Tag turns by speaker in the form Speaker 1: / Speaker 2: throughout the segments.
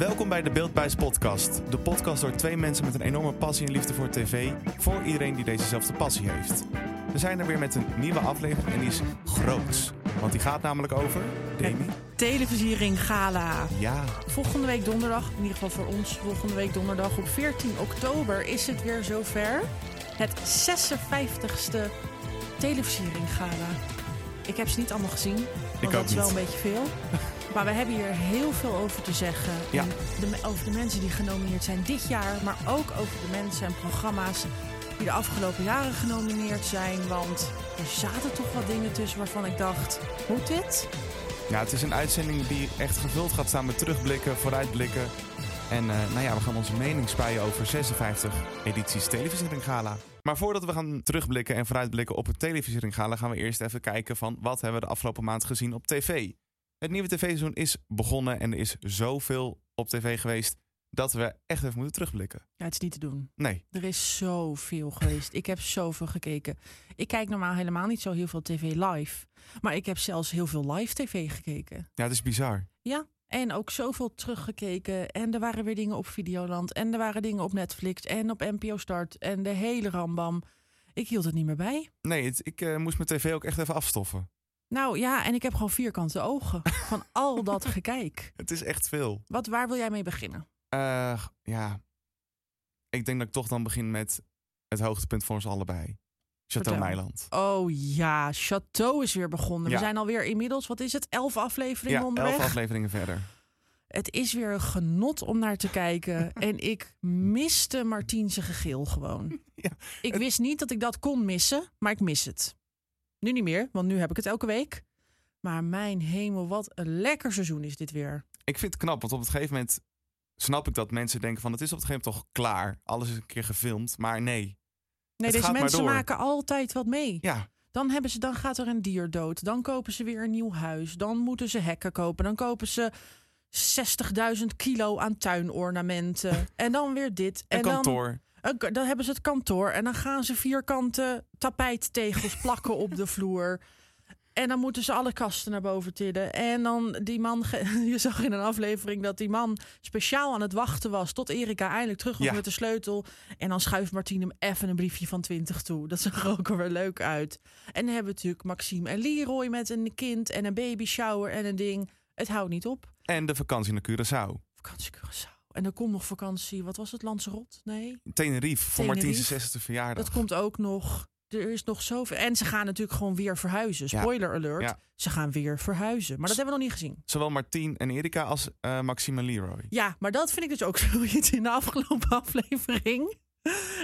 Speaker 1: Welkom bij de Beeldbuis podcast. De podcast door twee mensen met een enorme passie en liefde voor tv. Voor iedereen die dezezelfde passie heeft. We zijn er weer met een nieuwe aflevering en die is groots. Want die gaat namelijk over... Demi?
Speaker 2: Televisiering Gala.
Speaker 1: Ja.
Speaker 2: Volgende week donderdag, in ieder geval voor ons, volgende week donderdag op 14 oktober is het weer zover. Het 56ste Televisiering Gala. Ik heb ze niet allemaal gezien, want
Speaker 1: ook
Speaker 2: dat is wel
Speaker 1: niet.
Speaker 2: een beetje veel. Maar we hebben hier heel veel over te zeggen.
Speaker 1: Ja.
Speaker 2: En De, me- over de mensen die genomineerd zijn dit jaar, maar ook over de mensen en programma's die de afgelopen jaren genomineerd zijn. Want er zaten toch wat dingen tussen waarvan ik dacht, moet dit?
Speaker 1: ja, het is een uitzending die echt gevuld gaat staan met terugblikken, vooruitblikken. En eh, nou ja, we gaan onze mening spijen over 56 edities Televisiering Gala. Maar voordat we gaan terugblikken en vooruitblikken op het Televisiering Gala... gaan we eerst even kijken van wat hebben we de afgelopen maand gezien op tv. Het nieuwe tv-seizoen is begonnen en er is zoveel op tv geweest... dat we echt even moeten terugblikken.
Speaker 2: Ja, het is niet te doen.
Speaker 1: Nee,
Speaker 2: Er is zoveel geweest. Ik heb zoveel gekeken. Ik kijk normaal helemaal niet zo heel veel tv live. Maar ik heb zelfs heel veel live tv gekeken.
Speaker 1: ja, het is bizar.
Speaker 2: En ook zoveel teruggekeken. En er waren weer dingen op Videoland. En er waren dingen op Netflix. En op NPO Start. En de hele rambam. Ik hield het niet meer bij.
Speaker 1: Nee, het- ik eh, moest mijn tv ook echt even afstoffen.
Speaker 2: Nou ja, en ik heb gewoon vierkante ogen. Van al dat gekeik.
Speaker 1: Het is echt veel.
Speaker 2: Wat, waar wil jij mee beginnen?
Speaker 1: Eh, ja. Ik denk dat ik toch dan begin met het hoogtepunt voor ons allebei. Chateau
Speaker 2: Vertel.
Speaker 1: Meiland.
Speaker 2: Oh ja, Chateau is weer begonnen.
Speaker 1: Ja.
Speaker 2: We zijn alweer inmiddels, wat is het, elf afleveringen
Speaker 1: Ja,
Speaker 2: onderweg?
Speaker 1: elf afleveringen verder.
Speaker 2: Het is weer een genot om naar te kijken. en ik miste Martiense gegil gewoon.
Speaker 1: Ja,
Speaker 2: ik
Speaker 1: het-
Speaker 2: wist niet dat ik dat kon missen, maar ik mis het. Nu niet meer, want nu heb ik het elke week. Maar mijn hemel, wat een lekker seizoen is dit weer.
Speaker 1: Ik vind het knap, want op het gegeven moment snap ik dat mensen denken van... het is op het gegeven moment toch klaar. Alles is een keer gefilmd, maar nee.
Speaker 2: Nee,
Speaker 1: Het
Speaker 2: deze
Speaker 1: gaat maar
Speaker 2: mensen
Speaker 1: door.
Speaker 2: maken altijd wat mee.
Speaker 1: Ja,
Speaker 2: Dan, hebben ze, dan gaat er een dier dood. Dan kopen ze weer een nieuw huis. Dan moeten ze hekken kopen. Dan kopen ze 60.000 kilo aan tuinornamenten. en dan weer dit.
Speaker 1: een
Speaker 2: dan-
Speaker 1: kantoor.
Speaker 2: Een ka- Dan hebben ze het kantoor en dan gaan ze vierkante tapijttegels plakken op de vloer. En dan moeten ze alle kasten naar boven tillen. En dan die man, ge- je zag in een aflevering dat die man speciaal aan het wachten was tot Erika eindelijk terug was
Speaker 1: Ja.
Speaker 2: met de sleutel. En dan schuift Martien hem even een briefje van 20 toe. Dat zag er ook weer leuk uit. En dan hebben we natuurlijk Maxime en Leroy met een kind en een baby shower en een ding. Het houdt niet op.
Speaker 1: En de vakantie naar Curaçao.
Speaker 2: Vakantie Curaçao. En dan komt nog vakantie. Wat was het? Lanzarote? Nee.
Speaker 1: Tenerife, voor Martien's
Speaker 2: Tenerife.
Speaker 1: 60 verjaardag.
Speaker 2: Dat komt ook nog. Er is nog zoveel. En ze gaan natuurlijk gewoon weer verhuizen.
Speaker 1: Ja.
Speaker 2: Spoiler alert.
Speaker 1: Ja.
Speaker 2: Ze gaan weer verhuizen. Maar dat hebben we nog niet gezien.
Speaker 1: Zowel Martien en Erika als eh Maxime en Leroy.
Speaker 2: Ja, maar dat vind ik dus ook zoiets in de afgelopen aflevering.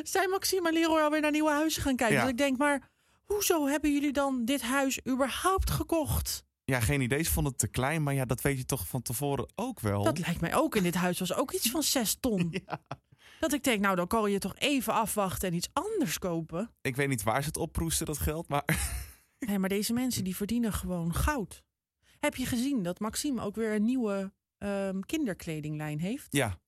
Speaker 2: Zijn Maxime en Leroy alweer naar nieuwe huizen gaan kijken?
Speaker 1: Ja.
Speaker 2: Dat ik denk, maar hoezo hebben jullie dan dit huis überhaupt gekocht?
Speaker 1: Ja, geen idee, ze vonden het te klein. Maar ja, dat weet je toch van tevoren ook wel.
Speaker 2: Dat lijkt mij ook. En dit huis was ook iets van zes ton. Dat ik denk, nou dan kan je toch even afwachten en iets anders kopen.
Speaker 1: Ik weet niet waar ze het opproesten, dat geld. Maar
Speaker 2: Nee, maar deze mensen die verdienen gewoon goud. Heb je gezien dat Maxime ook weer een nieuwe ehm, kinderkledinglijn heeft?
Speaker 1: ja,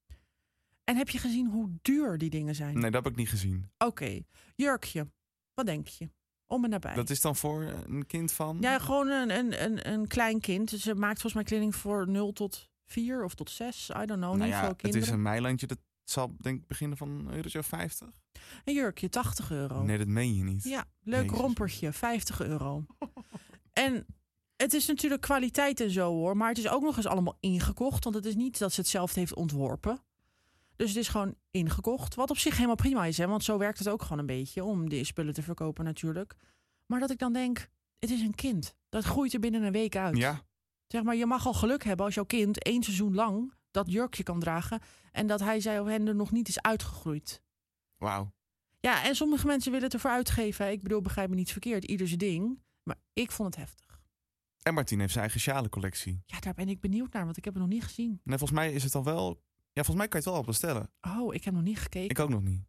Speaker 2: En heb je gezien hoe duur die dingen zijn?
Speaker 1: nee, dat heb ik niet gezien.
Speaker 2: Oké, jurkje. Wat denk je? Om en nabij.
Speaker 1: Dat is dan voor een kind van?
Speaker 2: Ja, gewoon een, een, een, een klein kind. Ze maakt volgens mij kleding voor 0 tot 4 of tot 6. I don't know.
Speaker 1: nou
Speaker 2: niet
Speaker 1: ja,
Speaker 2: veel
Speaker 1: het
Speaker 2: kinderen.
Speaker 1: is een meilandje. Dat zal denk ik beginnen van een eurotje of 50.
Speaker 2: Een jurkje, 80 euro.
Speaker 1: Nee, dat meen je niet.
Speaker 2: Oh. Ja, leuk
Speaker 1: Jezus.
Speaker 2: rompertje, 50 euro. En het is natuurlijk kwaliteit en zo hoor, maar het is ook nog eens allemaal ingekocht, want het is niet dat ze het zelf heeft ontworpen. Dus het is gewoon ingekocht, wat op zich helemaal prima is, hè? want zo werkt het ook gewoon een beetje om die spullen te verkopen natuurlijk. Maar dat ik dan denk, het is een kind, dat groeit er binnen een week uit.
Speaker 1: Ja,
Speaker 2: Zeg maar, je mag al geluk hebben als jouw kind één seizoen lang dat jurkje kan dragen en dat hij zij of hen er nog niet is uitgegroeid.
Speaker 1: wauw.
Speaker 2: Ja, en sommige mensen willen het ervoor uitgeven. hè. Ik bedoel, begrijp me niet verkeerd, ieder zijn ding. Maar ik vond het heftig.
Speaker 1: En Martien heeft zijn eigen sjalencollectie.
Speaker 2: Ja, daar ben ik benieuwd naar, want ik heb het nog niet gezien.
Speaker 1: Nee, volgens mij is het dan wel... Ja, volgens mij kan je het wel al bestellen.
Speaker 2: Oh, ik heb nog niet gekeken.
Speaker 1: Ik ook nog niet.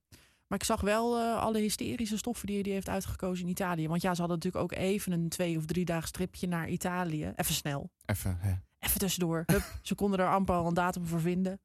Speaker 2: Maar ik zag wel eh, alle hysterische stoffen die hij heeft uitgekozen in Italië. Want ja, ze hadden natuurlijk ook even een twee of drie dagen stripje naar Italië. Even snel.
Speaker 1: Even, hè.
Speaker 2: Even tussendoor. Hup, ze konden er amper al een datum voor vinden.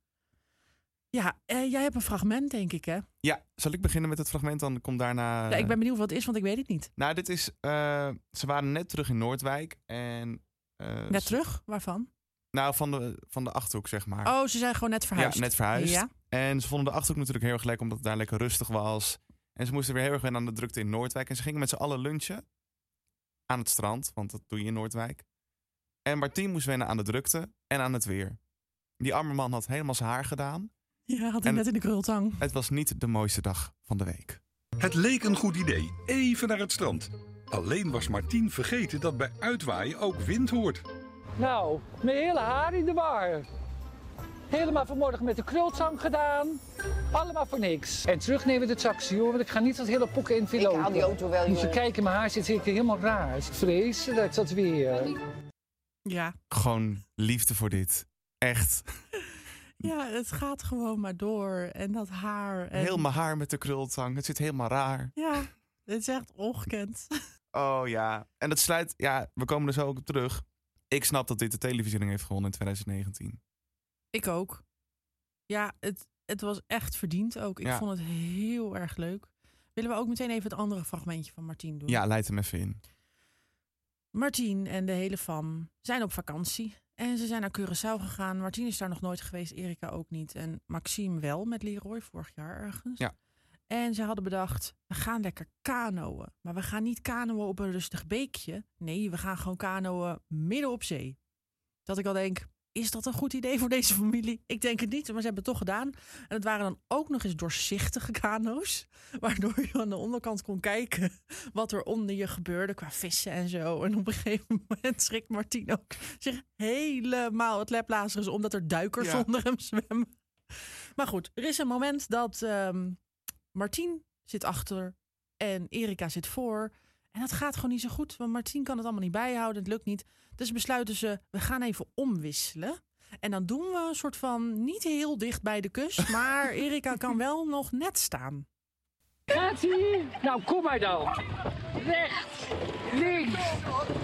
Speaker 2: Ja, eh, jij hebt een fragment, denk ik, hè?
Speaker 1: Ja, zal ik beginnen met het fragment? Dan komt daarna... eh,
Speaker 2: Ja, ik ben benieuwd wat het is, want ik weet het niet.
Speaker 1: Nou, dit is... eh, ze waren net terug in Noordwijk en... eh,
Speaker 2: Net
Speaker 1: ze-
Speaker 2: terug? Waarvan?
Speaker 1: Nou, van de, van de Achterhoek, zeg maar.
Speaker 2: Oh, ze zijn gewoon net verhuisd.
Speaker 1: Ja, net verhuisd.
Speaker 2: Ja.
Speaker 1: En ze vonden de Achterhoek natuurlijk heel erg lekker, omdat het daar lekker rustig was. En ze moesten weer heel erg wennen aan de drukte in Noordwijk. En ze gingen met z'n allen lunchen aan het strand, want dat doe je in Noordwijk. En Martien moest wennen aan de drukte en aan het weer. Die arme man had helemaal zijn haar gedaan.
Speaker 2: Ja, had hij
Speaker 1: En-
Speaker 2: net in de krultang.
Speaker 1: Het was niet de mooiste dag van de week.
Speaker 3: Het leek een goed idee, even naar het strand. Alleen was Martien vergeten dat bij uitwaaien ook wind hoort.
Speaker 4: Nou, mijn hele haar in de war. Helemaal vanmorgen met de krultang gedaan. Allemaal voor niks. En terugnemen met het taxi, hoor, want ik ga niet dat hele pokken in
Speaker 5: Ik
Speaker 4: lopen.
Speaker 5: haal die auto wel,
Speaker 4: Moet je
Speaker 5: jongen.
Speaker 4: kijken, mijn haar zit zeker helemaal raar. Het is vreselijk, dat weer.
Speaker 2: Ja.
Speaker 1: Gewoon liefde voor dit. Echt.
Speaker 2: ja, het gaat gewoon maar door. En dat haar. En...
Speaker 1: Heel mijn haar met de krultang. Het zit helemaal raar.
Speaker 2: Ja, dit is echt ongekend.
Speaker 1: Oh ja. En dat sluit, ja, we komen er zo ook op terug. Ik snap dat dit de televisiering heeft gewonnen in 2019.
Speaker 2: Ik ook. Ja, het, het was echt verdiend ook. Ik
Speaker 1: Ja.
Speaker 2: vond het heel erg leuk. Willen we ook meteen even het andere fragmentje van Martien doen?
Speaker 1: Ja, leid hem even in.
Speaker 2: Martien en de hele fam zijn op vakantie. En ze zijn naar Curaçao gegaan. Martien is daar nog nooit geweest, Erika ook niet. En Maxime wel, met Leroy, vorig jaar ergens.
Speaker 1: Ja.
Speaker 2: En ze hadden bedacht, we gaan lekker kanoën. Maar we gaan niet kanoën op een rustig beekje. Nee, we gaan gewoon kanoën midden op zee. Dat ik al denk, is dat een goed idee voor deze familie? Ik denk het niet, maar ze hebben het toch gedaan. En het waren dan ook nog eens doorzichtige kano's. Waardoor je aan de onderkant kon kijken wat er onder je gebeurde qua vissen en zo. En op een gegeven moment schrikt Martien ook zich helemaal het leplazers omdat er duikers
Speaker 1: Ja.
Speaker 2: onder hem zwemmen. Maar goed, er is een moment dat ehm Martien zit achter en Erika zit voor. En dat gaat gewoon niet zo goed, want Martien kan het allemaal niet bijhouden. Het lukt niet. Dus besluiten ze, we gaan even omwisselen. En dan doen we een soort van niet heel dicht bij de kust, maar Erika kan wel nog net staan.
Speaker 4: Gaat ie? Nou, kom maar dan. Rechts, links.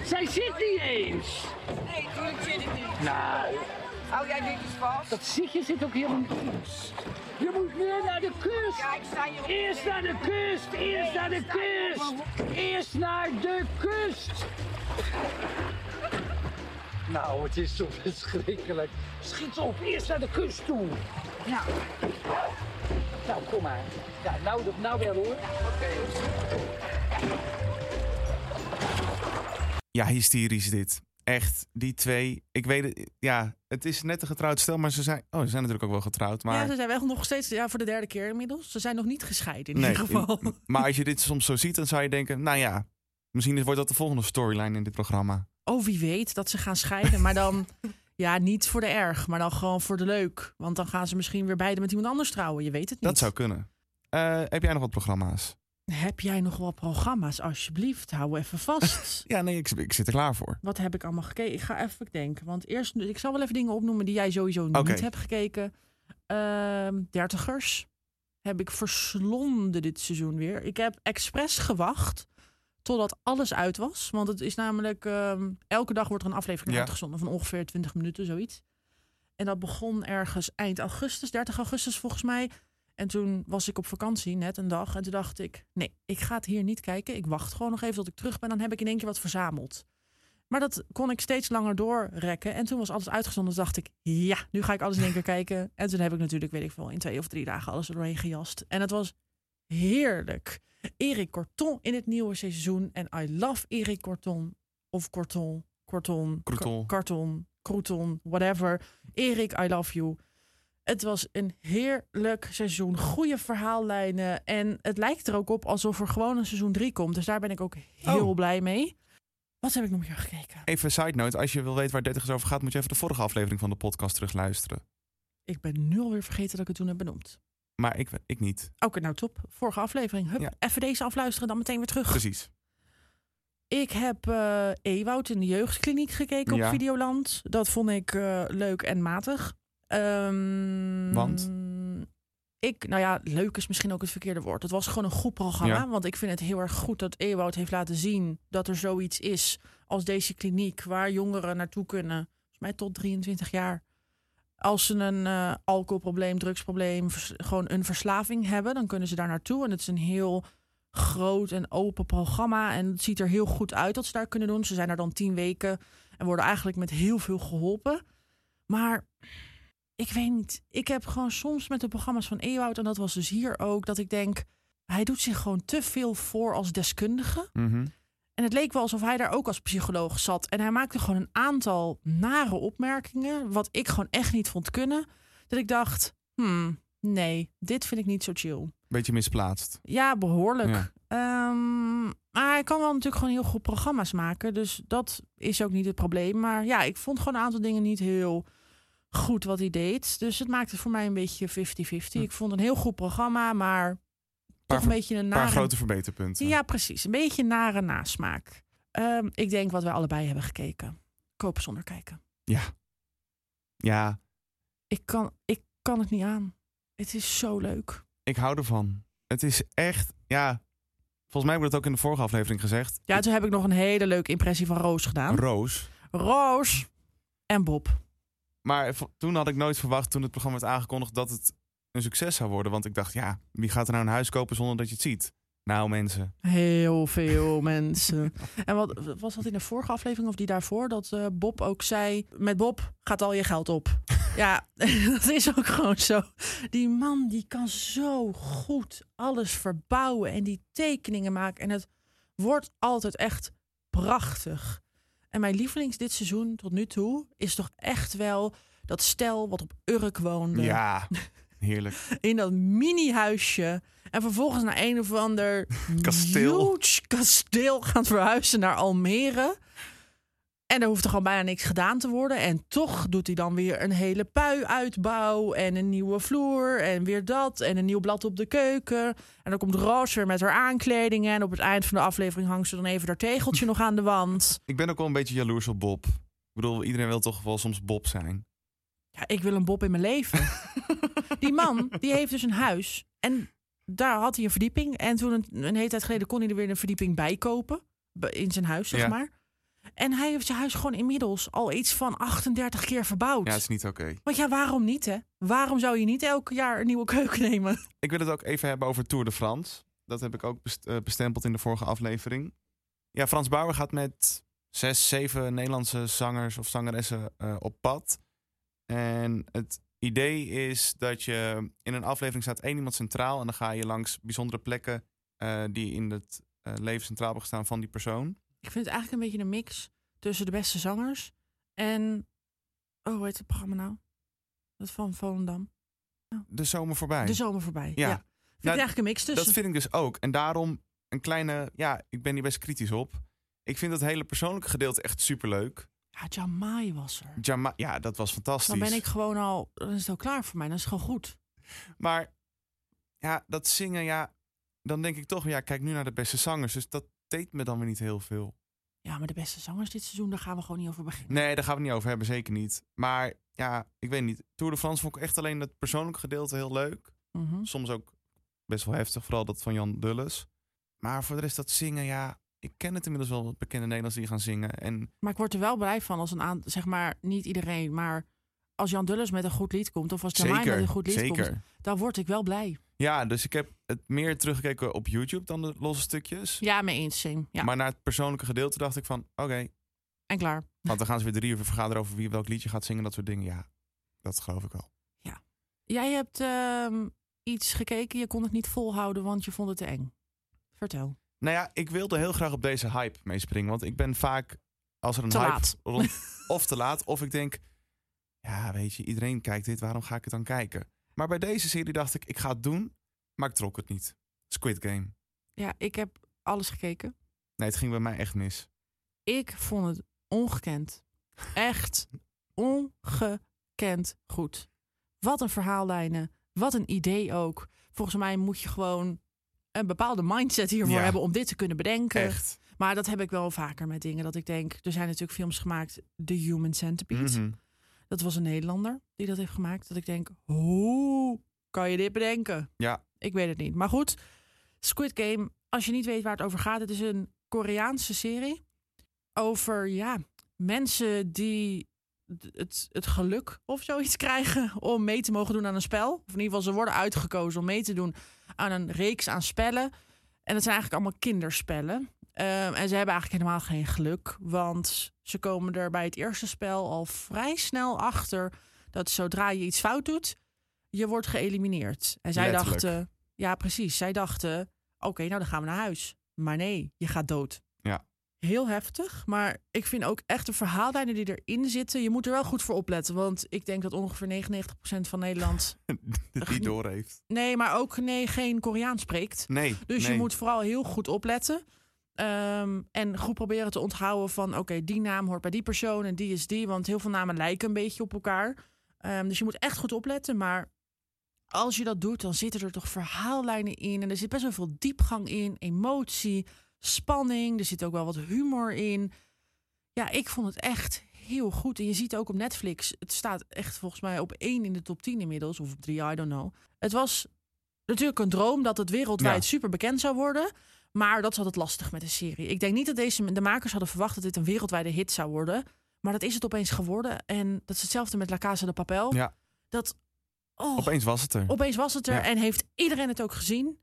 Speaker 4: Zij zit niet eens.
Speaker 5: Nee, tuurlijk zit ik niet.
Speaker 4: Nou,
Speaker 5: Hou jij dingetjes vast?
Speaker 4: dat zitje zit ook helemaal niet goed. Je moet meer naar de kust.
Speaker 5: Ja, ik sta hier op-
Speaker 4: Eerst naar de kust, eerst naar de kust, eerst naar de kust. Nou, het is zo verschrikkelijk. Schiet op, eerst naar de kust toe.
Speaker 5: Ja.
Speaker 4: Nou, kom maar. Ja, nou, nou wel hoor.
Speaker 1: Ja, hysterisch dit. Echt, die twee. Ik weet het, ja, het is net een getrouwd stel, maar ze zijn... Oh, ze zijn natuurlijk ook wel getrouwd, maar...
Speaker 2: Ja, ze zijn wel nog steeds, ja, voor de derde keer inmiddels. Ze zijn nog niet gescheiden in
Speaker 1: Nee,
Speaker 2: ieder geval.
Speaker 1: in- maar als je dit soms zo ziet, dan zou je denken... Nou ja, misschien wordt dat de volgende storyline in dit programma.
Speaker 2: Oh, wie weet dat ze gaan scheiden. Maar dan, ja, niet voor de erg, maar dan gewoon voor de leuk. Want dan gaan ze misschien weer beide met iemand anders trouwen. Je weet het niet.
Speaker 1: Dat zou kunnen. Eh, heb jij nog wat programma's?
Speaker 2: Heb jij nog wel programma's? Alsjeblieft, hou even vast.
Speaker 1: Ja, nee, ik, ik zit er klaar voor.
Speaker 2: Wat heb ik allemaal gekeken? Ik ga even denken. Want eerst, dus ik zal wel even dingen opnoemen die jij sowieso
Speaker 1: Oké.
Speaker 2: niet hebt gekeken. Ehm, dertigers heb ik verslonden dit seizoen weer. Ik heb expres gewacht totdat alles uit was. Want het is namelijk, ehm, elke dag wordt er een aflevering
Speaker 1: Ja.
Speaker 2: uitgezonden van ongeveer 20 minuten, zoiets. En dat begon ergens eind augustus, 30 augustus volgens mij. En toen was ik op vakantie net een dag. En toen dacht ik, nee, ik ga het hier niet kijken. Ik wacht gewoon nog even tot ik terug ben. Dan heb ik in één keer wat verzameld. Maar dat kon ik steeds langer doorrekken. En toen was alles uitgezonden. Toen dacht ik, ja, nu ga ik alles in één keer kijken. En toen heb ik natuurlijk, weet ik veel, in twee of drie dagen alles er doorheen gejast. En het was heerlijk. Erik Corton in het nieuwe seizoen. En I love Erik Corton. Of Corton, Corton,
Speaker 1: Croton.
Speaker 2: Carton, Croton, whatever. Erik, I love you. Het was een heerlijk seizoen. Goede verhaallijnen. En het lijkt er ook op alsof er gewoon een seizoen 3 komt. Dus daar ben ik ook heel
Speaker 1: Oh.
Speaker 2: blij mee. Wat heb ik nog meer gekeken?
Speaker 1: Even een side note. Als je wil weten waar 30 over gaat, moet je even de vorige aflevering van de podcast terugluisteren.
Speaker 2: Ik ben nu alweer vergeten dat ik het toen heb benoemd.
Speaker 1: Maar ik, ik niet.
Speaker 2: Oké, nou top. Vorige aflevering. Hup,
Speaker 1: Ja.
Speaker 2: even deze afluisteren, dan meteen weer terug.
Speaker 1: Precies.
Speaker 2: Ik heb eh Ewoud in de jeugdkliniek gekeken
Speaker 1: Ja.
Speaker 2: op Videoland. Dat vond ik eh, leuk en matig. Ehm,
Speaker 1: Want?
Speaker 2: Ik, nou ja, leuk is misschien ook het verkeerde woord. Het was gewoon een goed programma.
Speaker 1: Ja.
Speaker 2: Want ik vind het heel erg goed dat Ewoud heeft laten zien dat er zoiets is als deze kliniek waar jongeren naartoe kunnen. Volgens mij tot 23 jaar. Als ze een eh, alcoholprobleem, drugsprobleem, vers- gewoon een verslaving hebben, dan kunnen ze daar naartoe. En het is een heel groot en open programma. En het ziet er heel goed uit dat ze daar kunnen doen. Ze zijn daar dan tien weken en worden eigenlijk met heel veel geholpen. Maar ik weet niet. Ik heb gewoon soms met de programma's van Ewout, en dat was dus hier ook, dat ik denk, hij doet zich gewoon te veel voor als deskundige.
Speaker 1: Mhm.
Speaker 2: En het leek wel alsof hij daar ook als psycholoog zat. En hij maakte gewoon een aantal nare opmerkingen, wat ik gewoon echt niet vond kunnen. Dat ik dacht, hmm, nee, dit vind ik niet zo chill.
Speaker 1: Beetje misplaatst.
Speaker 2: Ja, behoorlijk.
Speaker 1: Ja.
Speaker 2: Ehm, maar hij kan wel natuurlijk gewoon heel goed programma's maken. Dus dat is ook niet het probleem. Maar ja, ik vond gewoon een aantal dingen niet heel goed wat hij deed. Dus het maakte voor mij een beetje 50-50. Ik vond het een heel goed programma, maar toch
Speaker 1: ver-
Speaker 2: een beetje een
Speaker 1: Een paar
Speaker 2: nare...
Speaker 1: grote verbeterpunten.
Speaker 2: Ja, precies. Een beetje een nare nasmaak. Ehm, ik denk wat wij allebei hebben gekeken. Kopen zonder kijken.
Speaker 1: ja,
Speaker 2: Ik kan, ik kan het niet aan. Het is zo leuk.
Speaker 1: ik hou ervan. Het is echt, ja. Volgens mij wordt het ook in de vorige aflevering gezegd.
Speaker 2: Ja, toen heb ik nog een hele leuke impressie van Roos gedaan.
Speaker 1: Roos.
Speaker 2: Roos en Bob.
Speaker 1: Maar v- toen had ik nooit verwacht, toen het programma werd aangekondigd, dat het een succes zou worden. Want ik dacht, ja, wie gaat er nou een huis kopen zonder dat je het ziet? Nou, mensen.
Speaker 2: Heel veel mensen. En wat was dat in de vorige aflevering of die daarvoor? Dat eh, Bob ook zei: Met Bob gaat al je geld op. ja, dat is ook gewoon zo. Die man die kan zo goed alles verbouwen en die tekeningen maken. En het wordt altijd echt prachtig. En mijn lievelings dit seizoen tot nu toe is toch echt wel dat stel wat op Urk woonde
Speaker 1: Ja, heerlijk.
Speaker 2: in dat mini-huisje. En vervolgens naar een of ander
Speaker 1: Kasteel.
Speaker 2: huge kasteel gaan verhuizen naar Almere. En daar hoeft er gewoon bijna niks gedaan te worden. En toch doet hij dan weer een hele pui-uitbouw. En een nieuwe vloer. En weer dat. En een nieuw blad op de keuken. En dan komt Roos weer met haar aankledingen. En op het eind van de aflevering hangt ze dan even haar tegeltje nog aan de wand.
Speaker 1: Ik ben ook wel een beetje jaloers op Bob. Ik bedoel, iedereen wil toch wel soms Bob zijn.
Speaker 2: Ja, ik wil een Bob in mijn leven. die man, die heeft dus een huis. En daar had hij een verdieping. En toen een, een hele tijd geleden kon hij er weer een verdieping bij kopen. be- In zijn huis, zeg
Speaker 1: Ja.
Speaker 2: maar. En hij heeft zijn huis gewoon inmiddels al iets van 38 keer verbouwd.
Speaker 1: Ja, het is niet oké.
Speaker 2: Want ja, waarom niet, hè? Waarom zou je niet elk jaar een nieuwe keuken nemen?
Speaker 1: Ik wil het ook even hebben over Tour de France. Dat heb ik ook best- eh, bestempeld in de vorige aflevering. Ja, Frans Bauer gaat met zes, zeven Nederlandse zangers of zangeressen eh, op pad. En het idee is dat je in een aflevering staat één iemand centraal... en dan ga je langs bijzondere plekken eh, die in het eh, leven centraal hebben gestaan van die persoon.
Speaker 2: Ik vind het eigenlijk een beetje een mix tussen de beste zangers en... Oh, hoe heet het programma nou? Dat van Volendam.
Speaker 1: De zomer voorbij.
Speaker 2: De zomer voorbij. Ja.
Speaker 1: Ja.
Speaker 2: Vind ik
Speaker 1: Nou,
Speaker 2: eigenlijk een mix tussen.
Speaker 1: Dat vind ik dus ook. En daarom een kleine... Ja, ik ben hier best kritisch op. Ik vind dat hele persoonlijke gedeelte echt superleuk.
Speaker 2: Ja, Jamai was er.
Speaker 1: Jama ja, dat was fantastisch.
Speaker 2: Dus Dan ben ik gewoon al, dan is het al klaar voor mij. Dan is het gewoon goed.
Speaker 1: Maar ja, dat zingen, ja, dan denk ik toch, ja, kijk nu naar de beste zangers. Dus dat deed me dan weer niet heel veel.
Speaker 2: Ja, maar de beste zangers dit seizoen, daar gaan we gewoon niet over beginnen.
Speaker 1: Nee, daar gaan we het niet over hebben, zeker niet. Maar ja, ik weet niet. Tour de France vond ik echt alleen dat persoonlijke gedeelte heel leuk.
Speaker 2: Mhm.
Speaker 1: Soms ook best wel heftig, vooral dat van Jan Dulles. Maar voor de rest dat zingen, ja, ik ken het inmiddels wel wat bekende Nederlanders die gaan zingen. En
Speaker 2: Maar ik word er wel blij van als een aan, zeg maar, niet iedereen, maar als Jan Dulles met een goed lied komt, of als Jamai met
Speaker 1: zeker,
Speaker 2: een goed lied komt,
Speaker 1: zeker.
Speaker 2: dan word ik wel blij.
Speaker 1: Ja, dus ik heb het meer teruggekeken op YouTube dan de losse stukjes.
Speaker 2: Ja, mee eens, Sim. Ja,
Speaker 1: Maar naar het persoonlijke gedeelte dacht ik van, oké,
Speaker 2: en klaar.
Speaker 1: Want dan gaan ze weer drie uur vergaderen over wie welk liedje gaat zingen, dat soort dingen. Ja, dat geloof ik wel.
Speaker 2: Jij hebt ehm, iets gekeken, je kon het niet volhouden, want je vond het te eng. Vertel.
Speaker 1: Nou ja, ik wilde heel graag op deze hype meespringen. Want ik ben vaak, als er een
Speaker 2: Te
Speaker 1: hype
Speaker 2: laat.
Speaker 1: rond- of te laat, of ik denk, ja weet je, iedereen kijkt dit, waarom ga ik het dan kijken? Maar bij deze serie dacht ik, ik ga het doen, maar ik trok het niet. Squid Game.
Speaker 2: Ja, ik heb alles gekeken.
Speaker 1: Nee, het ging bij mij echt mis.
Speaker 2: Ik vond het ongekend. Echt ongekend goed. Wat een verhaallijnen. Wat een idee ook. Volgens mij moet je gewoon een bepaalde mindset hiervoor
Speaker 1: Ja.
Speaker 2: hebben om dit te kunnen bedenken.
Speaker 1: Echt.
Speaker 2: Maar dat heb ik wel vaker met dingen. Dat ik denk, er zijn natuurlijk films gemaakt. The Human Centipede.
Speaker 1: Mhm.
Speaker 2: Dat was een Nederlander die dat heeft gemaakt. Dat ik denk, hoe kan je dit bedenken?
Speaker 1: Ja.
Speaker 2: Ik weet het niet. Maar goed, Squid Game, als je niet weet waar het over gaat, het is een Koreaanse serie over ja, mensen die d- het, het geluk of zoiets krijgen om mee te mogen doen aan een spel. Of in ieder geval, ze worden uitgekozen om mee te doen aan een reeks aan spellen. En dat zijn eigenlijk allemaal kinderspellen. Eh, Ehm, en ze hebben eigenlijk helemaal geen geluk. Want ze komen er bij het eerste spel al vrij snel achter dat zodra je iets fout doet, je wordt geëlimineerd. En zij
Speaker 1: Letterlijk.
Speaker 2: dachten, ja precies, zij dachten, oké, nou dan gaan we naar huis. Maar nee, je gaat dood.
Speaker 1: Ja.
Speaker 2: Heel heftig, maar ik vind ook echt de verhaallijnen die erin zitten, je moet er wel goed voor opletten. Want ik denk dat ongeveer 99% van Nederland,
Speaker 1: Die door heeft.
Speaker 2: nee, maar ook nee, geen Koreaans spreekt.
Speaker 1: Nee.
Speaker 2: Dus
Speaker 1: nee.
Speaker 2: je moet vooral heel goed opletten. Ehm, en goed proberen te onthouden van... oké, die naam hoort bij die persoon en die is die. Want heel veel namen lijken een beetje op elkaar. Ehm, dus je moet echt goed opletten. Maar als je dat doet, dan zitten er toch verhaallijnen in. En er zit best wel veel diepgang in, emotie, spanning. Er zit ook wel wat humor in. Ja, ik vond het echt heel goed. En je ziet ook op Netflix... het staat echt volgens mij op één in de top 10 inmiddels. Of op drie, I don't know. Het was natuurlijk een droom dat het wereldwijd
Speaker 1: Ja.
Speaker 2: super bekend zou worden. Maar dat is altijd lastig met een serie. Ik denk niet dat deze, de makers hadden verwacht dat dit een wereldwijde hit zou worden. Maar dat is het opeens geworden. En dat is hetzelfde met La Casa de Papel.
Speaker 1: Ja.
Speaker 2: Dat, oh, opeens.
Speaker 1: Opeens was het er.
Speaker 2: was het er
Speaker 1: Ja.
Speaker 2: en heeft iedereen het ook gezien.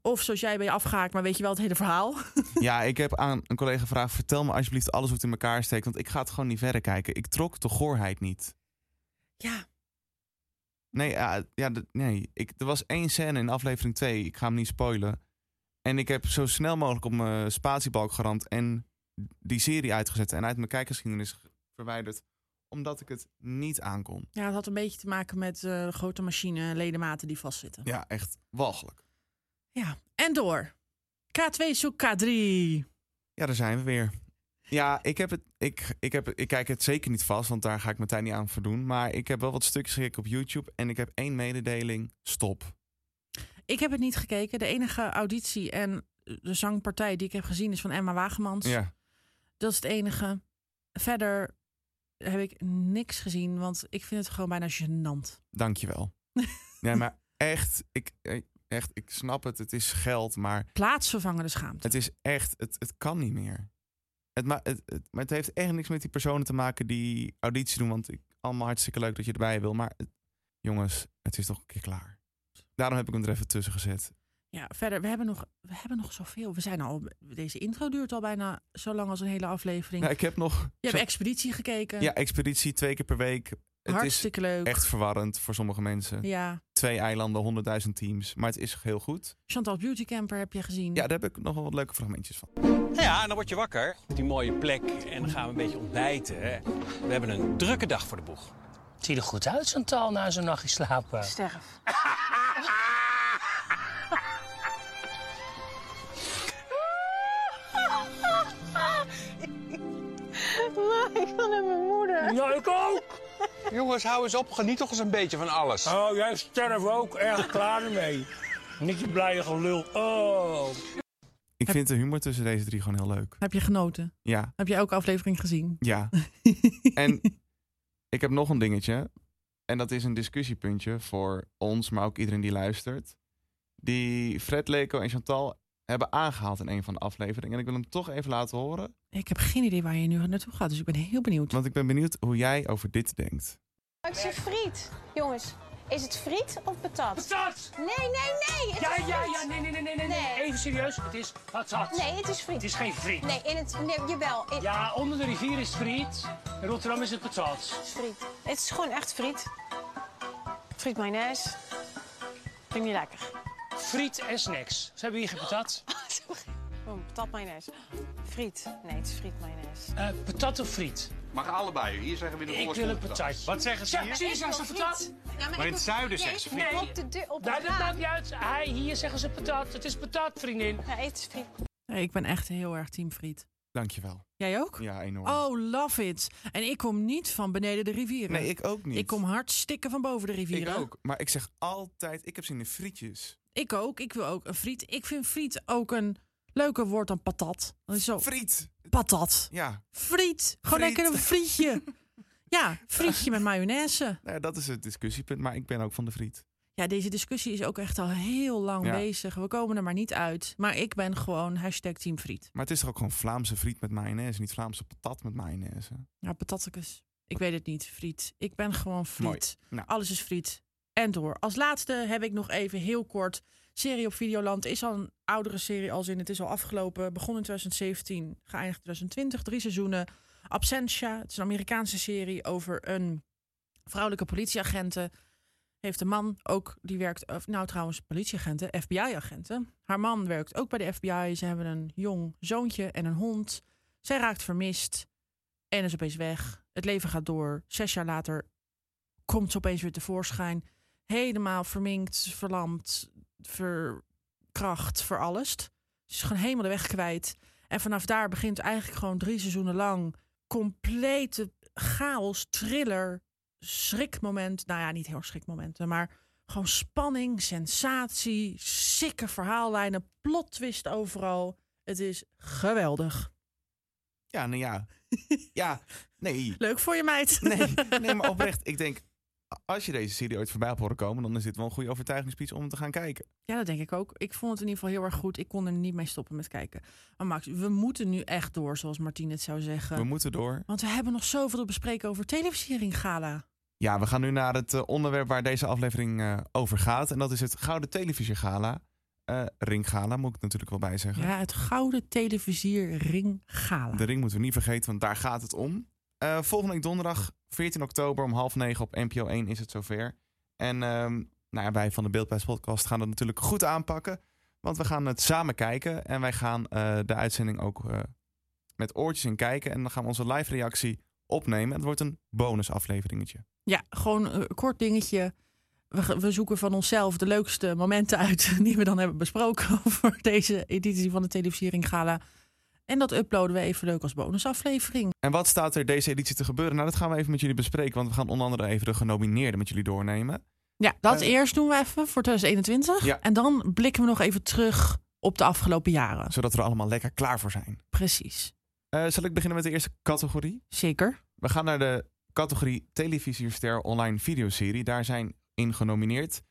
Speaker 2: Of zoals jij ben je afgehaakt, maar weet je wel het hele verhaal.
Speaker 1: Ja, ik heb aan een collega gevraagd: vertel me alsjeblieft alles hoe het in elkaar steekt. Want ik ga het gewoon niet verder kijken. Ik trok de goorheid niet.
Speaker 2: Ja,
Speaker 1: Nee, ja, ja, d- nee. Ik, er was één scène in aflevering 2. Ik ga hem niet spoilen. En ik heb zo snel mogelijk op mijn spatiebalk geramd. En die serie uitgezet. En uit mijn kijkgeschiedenis ge- verwijderd. Omdat ik het niet aankon.
Speaker 2: ja het had een beetje te maken met eh, grote machine ledematen die vastzitten.
Speaker 1: Ja, echt walgelijk.
Speaker 2: ja, en door. K2 zoekt K3.
Speaker 1: Ja, daar zijn we weer. Ja, ik, heb het, ik, ik, heb, ik kijk het zeker niet vast, want daar ga ik mijn tijd niet aan verdoen. Maar ik heb wel wat stukjes gekeken op YouTube en ik heb één mededeling. Stop.
Speaker 2: Ik heb het niet gekeken. De enige auditie en de zangpartij die ik heb gezien is van Emma Wagemans.
Speaker 1: Ja.
Speaker 2: Dat is het enige. Verder heb ik niks gezien, want ik vind het gewoon bijna gênant.
Speaker 1: Dankjewel. nee, maar echt ik, eh, echt, ik snap het. Het is geld, maar
Speaker 2: Plaatsvervangende schaamte.
Speaker 1: het is echt, het, het kan niet meer. Het, ma het, het- maar het heeft echt niks met die personen te maken die auditie doen. Want ik, allemaal hartstikke leuk dat je erbij wil. Maar het- jongens, het is toch een keer klaar. Daarom heb ik hem er even tussen gezet.
Speaker 2: Ja, verder, we hebben, nog, we hebben nog zoveel. We zijn al, deze intro duurt al bijna zo lang als een hele aflevering.
Speaker 1: Nou, ik heb nog...
Speaker 2: Je hebt
Speaker 1: zo-
Speaker 2: Expeditie gekeken.
Speaker 1: Ja, expeditie twee keer per week. Het
Speaker 2: Hartstikke leuk.
Speaker 1: is echt verwarrend voor sommige mensen.
Speaker 2: Ja.
Speaker 1: Twee eilanden, 100.000 teams. Maar het is heel goed.
Speaker 2: Chantal Beauty Camper heb je gezien.
Speaker 1: Ja, daar heb ik nog wel wat leuke fragmentjes van.
Speaker 6: Nou ja, en dan word je wakker op die mooie plek en dan gaan we een beetje ontbijten. We hebben een drukke dag voor de boeg.
Speaker 4: Het ziet er goed uit, zo'n taal na zo'n nachtje slapen.
Speaker 7: Sterf.
Speaker 4: Ja, ik ook!
Speaker 6: Jongens, hou eens op, geniet toch eens een beetje van alles.
Speaker 4: Oh, jij sterft ook. Echt klaar ermee. Niet je blije gelul. Oh.
Speaker 1: Ik vind de humor tussen deze drie gewoon heel leuk.
Speaker 2: Heb je genoten?
Speaker 1: Ja,
Speaker 2: Heb je elke aflevering gezien?
Speaker 1: ja. En ik heb nog een dingetje. En dat is een discussiepuntje voor ons, maar ook iedereen die luistert. Die Fred Leko en Chantal hebben aangehaald in een van de afleveringen. En ik wil hem toch even laten horen.
Speaker 2: Ik heb geen idee waar je nu naartoe gaat, dus ik ben heel benieuwd.
Speaker 1: Want ik ben benieuwd hoe jij over dit denkt.
Speaker 8: Het is een friet. Jongens, is het friet of patat?
Speaker 4: Patat!
Speaker 8: Nee, nee, nee. Het
Speaker 4: Ja,
Speaker 8: is
Speaker 4: ja,
Speaker 8: friet.
Speaker 4: ja. Nee, nee, nee, nee, nee.
Speaker 8: Nee.
Speaker 4: Even serieus. Het is patat.
Speaker 8: Nee, het is friet.
Speaker 4: Het is geen friet.
Speaker 8: Nee, in het... Nee, jawel. In...
Speaker 4: Ja, onder de rivier is het friet. In Rotterdam is het patat.
Speaker 8: Het is friet. Het is gewoon echt friet. Friet mayonaise. Vind ik niet lekker.
Speaker 4: Friet en snacks. Ze hebben hier geen patat.
Speaker 8: Oh, patat mayonaise. Friet. Nee, het is friet mayonaise.
Speaker 4: Eh, patat of friet?
Speaker 9: Mag allebei. Hier zeggen we de
Speaker 4: Ik wil
Speaker 9: voorstel.
Speaker 4: een patatje.
Speaker 6: Wat zeggen ze
Speaker 4: Ja,
Speaker 6: hier?
Speaker 4: precies. Daar staat patat.
Speaker 8: maar
Speaker 6: in het zuiden zeggen ze
Speaker 4: friet.
Speaker 8: Op de deur, op de
Speaker 5: Ah.
Speaker 4: Daar, dat maakt
Speaker 8: raam.
Speaker 4: niet uit. Hij, hier zeggen ze patat. Het is patat, vriendin.
Speaker 8: Ja, het is friet.
Speaker 2: Nee, ik ben echt heel erg team Friet.
Speaker 1: Dankjewel.
Speaker 2: Jij ook?
Speaker 1: Ja, enorm.
Speaker 2: Oh, love it. En ik kom niet van beneden de rivieren.
Speaker 1: nee, ik ook niet.
Speaker 2: Ik kom hartstikke van boven de
Speaker 1: Ik
Speaker 2: rivieren.
Speaker 1: ook. Maar ik zeg altijd, ik heb zin in frietjes.
Speaker 2: Ik ook. Ik wil ook een friet. Ik vind friet ook een leuker woord dan patat. Dat is zo.
Speaker 1: Friet!
Speaker 2: Patat.
Speaker 1: Ja,
Speaker 2: Friet. Gewoon
Speaker 1: Friet.
Speaker 2: lekker een frietje. ja, frietje met mayonaise.
Speaker 1: nou ja, dat is het discussiepunt. Maar ik ben ook van de friet.
Speaker 2: Ja, deze discussie is ook echt al heel lang
Speaker 1: Ja.
Speaker 2: bezig. We komen er maar niet uit. Maar ik ben gewoon hashtag team friet.
Speaker 1: Maar het is toch ook gewoon Vlaamse friet met mayonaise, niet Vlaamse patat met mayonaise.
Speaker 2: Nou, Ja, patattekes. Ik weet het niet, friet. Ik ben gewoon friet.
Speaker 1: Nou.
Speaker 2: Alles is friet. en door. Als laatste heb ik nog even heel kort. Serie op Videoland is al een oudere serie als in. Het is al afgelopen. Begon in 2017, geëindigd in 2020. Drie seizoenen. Absentia, het is een Amerikaanse serie over een vrouwelijke politieagenten. Heeft een man ook, die werkt, of, nou trouwens, politieagenten, FBI-agenten. Haar man werkt ook bij de FBI. Ze hebben een jong zoontje en een hond. Zij raakt vermist en is opeens weg. Het leven gaat door. Zes jaar later komt ze opeens weer tevoorschijn. Helemaal verminkt, verlamd, verkracht, verallest. Ze is gewoon helemaal de weg kwijt. En vanaf daar begint eigenlijk gewoon drie seizoenen lang complete chaos, thriller, schrikmoment. Nou ja, niet heel erg schrikmomenten, maar gewoon spanning, sensatie, sikke verhaallijnen, plot twist overal. Het is geweldig.
Speaker 1: Ja, nou ja. Ja, nee.
Speaker 2: Leuk voor je meid.
Speaker 1: Nee, nee, maar oprecht. Ik denk, als je deze serie ooit voorbij hebt horen komen... dan is dit wel een goede overtuigingspeech om te gaan kijken.
Speaker 2: Ja, dat denk ik ook. Ik vond het in ieder geval heel erg goed. Ik kon er niet mee stoppen met kijken. Maar Max, we moeten nu echt door, zoals Martien het zou zeggen.
Speaker 1: We moeten door.
Speaker 2: Want we hebben nog zoveel te bespreken over televisiering gala.
Speaker 1: Ja, we gaan nu naar het eh, onderwerp waar deze aflevering eh, over gaat. En dat is het Gouden Televisiegala. Eh ringgala moet ik natuurlijk wel bij zeggen.
Speaker 2: Ja, het Gouden Televisiering Gala.
Speaker 1: De ring moeten we niet vergeten, want daar gaat het om. Eh, volgende week donderdag, 14 oktober om half negen op NPO 1 is het zover. En ehm, nou ja, wij van de Beeldpijs podcast gaan dat natuurlijk goed aanpakken. Want we gaan het samen kijken en wij gaan eh, de uitzending ook eh, met oortjes in kijken. En dan gaan we onze live reactie opnemen. Het wordt een bonusafleveringetje.
Speaker 2: Ja, gewoon een kort dingetje. We, ge- we zoeken van onszelf de leukste momenten uit die we dan hebben besproken over deze editie van de Televisiering Gala. En dat uploaden we even leuk als bonusaflevering.
Speaker 1: En wat staat er deze editie te gebeuren? Nou, dat gaan we even met jullie bespreken. Want we gaan onder andere even de genomineerden met jullie doornemen.
Speaker 2: Ja, dat
Speaker 1: Eh,
Speaker 2: eerst doen we even voor 2021.
Speaker 1: Ja.
Speaker 2: En dan blikken we nog even terug op de afgelopen jaren.
Speaker 1: Zodat we er allemaal lekker klaar voor zijn.
Speaker 2: Precies.
Speaker 1: Eh, zal ik beginnen met de eerste categorie?
Speaker 2: Zeker.
Speaker 1: We gaan naar de categorie Televisiester Online Videoserie. Daar zijn in genomineerd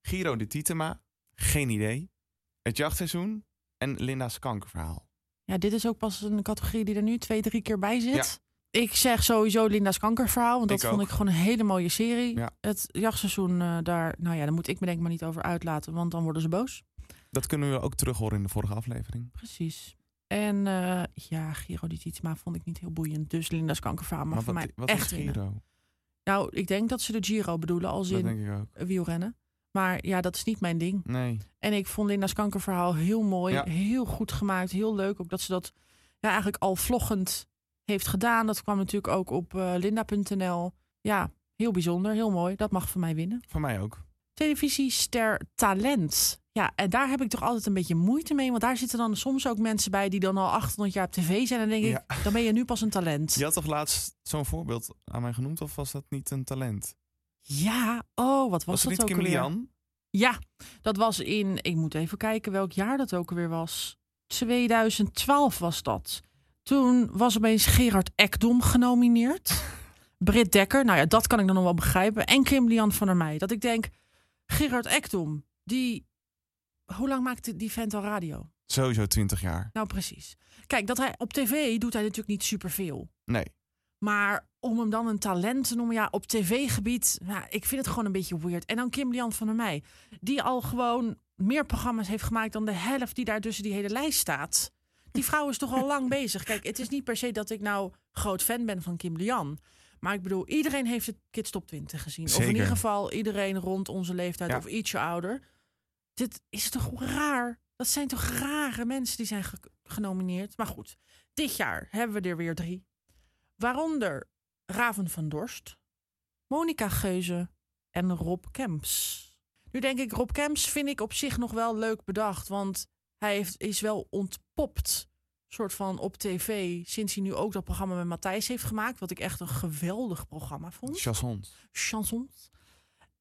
Speaker 1: Giro de Titema, Geen Idee, Het Jachtseizoen en Linda's Kankerverhaal.
Speaker 2: Ja, dit is ook pas een categorie die er nu twee, drie keer bij zit. Ik zeg sowieso Linda's kankerverhaal, want dat
Speaker 1: Ik
Speaker 2: vond
Speaker 1: ook.
Speaker 2: ik gewoon een hele mooie serie.
Speaker 1: Ja.
Speaker 2: Het jachtseizoen eh, daar, nou ja, daar moet ik me denk ik maar niet over uitlaten, want dan worden ze boos.
Speaker 1: Dat kunnen we ook terug horen in de vorige aflevering.
Speaker 2: Precies. En eh, ja, Giro di Titma vond ik niet heel boeiend, dus Linda's kankerverhaal mag voor
Speaker 1: wat,
Speaker 2: mij
Speaker 1: wat
Speaker 2: echt
Speaker 1: is
Speaker 2: winnen.
Speaker 1: Giro?
Speaker 2: Nou, ik denk dat ze de Giro bedoelen als
Speaker 1: Dat
Speaker 2: in
Speaker 1: denk ik ook.
Speaker 2: wielrennen. Maar ja, dat is niet mijn ding.
Speaker 1: Nee.
Speaker 2: En ik vond Linda's kankerverhaal heel mooi,
Speaker 1: Ja.
Speaker 2: heel goed gemaakt, heel leuk. Ook dat ze dat ja, eigenlijk al vloggend heeft gedaan. Dat kwam natuurlijk ook op eh, linda.nl. Ja, heel bijzonder, heel mooi. Dat mag van mij winnen.
Speaker 1: Voor mij ook.
Speaker 2: Televisiester talent. Ja, en daar heb ik toch altijd een beetje moeite mee. Want daar zitten dan soms ook mensen bij die dan al 800 jaar op tv zijn. En dan denk ik, dan ben je nu pas een talent.
Speaker 1: Je
Speaker 2: Ja,
Speaker 1: had toch laatst zo'n voorbeeld aan mij genoemd? Of was dat niet een talent? Was,
Speaker 2: oh, wat was,
Speaker 1: het
Speaker 2: dat
Speaker 1: niet
Speaker 2: ook
Speaker 1: Kim
Speaker 2: alweer?
Speaker 1: Lian?
Speaker 2: Ja, dat was in, ik moet even kijken welk jaar dat ook weer was. 2012 was dat. Toen was opeens Gerard Ekdom genomineerd. Britt Dekker, nou ja, dat kan ik dan nog wel begrijpen. En Kim Lian van der Meij. Dat ik denk, Gerard Ekdom, die... Hoe lang maakte die vent al radio?
Speaker 1: Sowieso 20 jaar.
Speaker 2: Nou, precies. Kijk, dat hij op tv doet hij natuurlijk niet superveel.
Speaker 1: Nee.
Speaker 2: Maar om hem dan een talent te noemen, ja, op tv-gebied, nou, ik vind het gewoon een beetje weird. En dan Kim Lian van der Meij, die al gewoon meer programma's heeft gemaakt dan de helft die daar tussen die hele lijst staat. Die vrouw is toch al lang bezig. Kijk, het is niet per se dat ik nou groot fan ben van Kim Lian. Maar ik bedoel, iedereen heeft het Kids Top 20 gezien. Of in
Speaker 1: Zeker.
Speaker 2: ieder geval iedereen rond onze leeftijd
Speaker 1: Ja.
Speaker 2: of ietsje ouder. Dit is toch raar? Dat zijn toch rare mensen die zijn ge- genomineerd? Maar goed, dit jaar hebben we er weer drie. Waaronder Raven van Dorst, Monica Geuze en Rob Kemps. Nu denk ik, Rob Kemps vind ik op zich nog wel leuk bedacht. Want hij heeft, is wel ontpopt, soort van op tv. Sinds hij nu ook dat programma met Matthijs heeft gemaakt. Wat ik echt een geweldig programma vond
Speaker 1: Chassons.
Speaker 2: chansons.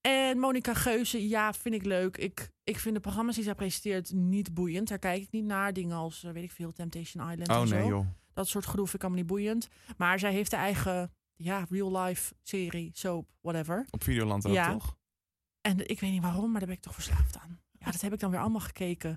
Speaker 2: En Monica Geuze, ja, vind ik leuk. Ik, ik vind de programma's die zij presenteert niet boeiend. Daar kijk ik niet naar. Dingen als, eh, weet ik veel, Temptation Island
Speaker 1: Oh
Speaker 2: en zo.
Speaker 1: nee joh.
Speaker 2: Dat soort gedoe vind ik allemaal niet boeiend. Maar zij heeft haar eigen, ja, real-life serie, soap, whatever.
Speaker 1: Op Videoland ook
Speaker 2: Ja.
Speaker 1: toch?
Speaker 2: En ik weet niet waarom, maar daar ben ik toch verslaafd aan. Ja, dat heb ik dan weer allemaal gekeken.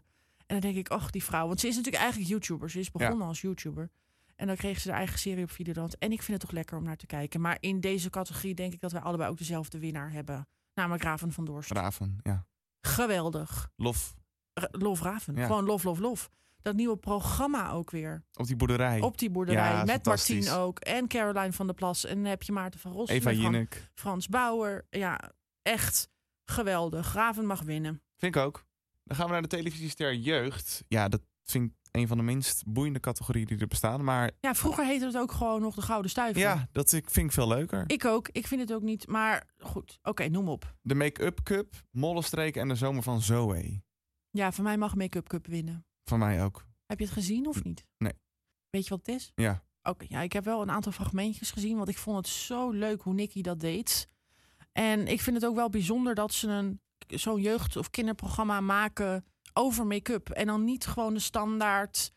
Speaker 2: En dan denk ik, ach, die vrouw. Want ze is natuurlijk eigenlijk YouTuber. Ze is begonnen als YouTuber. En dan kreeg ze haar eigen serie op Videoland. En ik vind het toch lekker om naar te kijken. Maar in deze categorie denk ik dat wij allebei ook dezelfde winnaar hebben. Namelijk Raven van Dorst.
Speaker 1: Raven, ja.
Speaker 2: Geweldig.
Speaker 1: Lof
Speaker 2: R- lof Raven.
Speaker 1: Ja.
Speaker 2: Gewoon lof, lof, lof. Dat nieuwe programma ook weer.
Speaker 1: op die boerderij.
Speaker 2: Op die boerderij.
Speaker 1: Ja,
Speaker 2: met
Speaker 1: fantastisch.
Speaker 2: Martien ook. En Caroline van der Plas. En dan heb je Maarten van Rossum.
Speaker 1: Eva
Speaker 2: en Fran-
Speaker 1: Jinek.
Speaker 2: Frans Bauer. Ja, echt geweldig. Raven mag winnen.
Speaker 1: Vind ik ook. Dan gaan we naar de televisiester jeugd. Ja, dat vind ik een van de minst boeiende categorieën die er bestaan. Maar
Speaker 2: Ja, vroeger heette het ook gewoon nog de Gouden Stuiver.
Speaker 1: ja, dat ik- vind ik veel leuker.
Speaker 2: Ik ook. Ik vind het ook niet. Maar goed. Oké, noem op.
Speaker 1: De Make-up Cup, Mollenstreek en de Zomer van Zoe.
Speaker 2: Ja, voor mij mag Make-up Cup winnen.
Speaker 1: Van mij ook.
Speaker 2: Heb je het gezien of niet?
Speaker 1: Nee.
Speaker 2: Weet je wat het is?
Speaker 1: Ja.
Speaker 2: Oké, ja, ik heb wel een aantal fragmentjes gezien, want ik vond het zo leuk hoe Nicky dat deed. En ik vind het ook wel bijzonder dat ze een zo'n jeugd- of kinderprogramma maken over make-up. En dan niet gewoon de standaard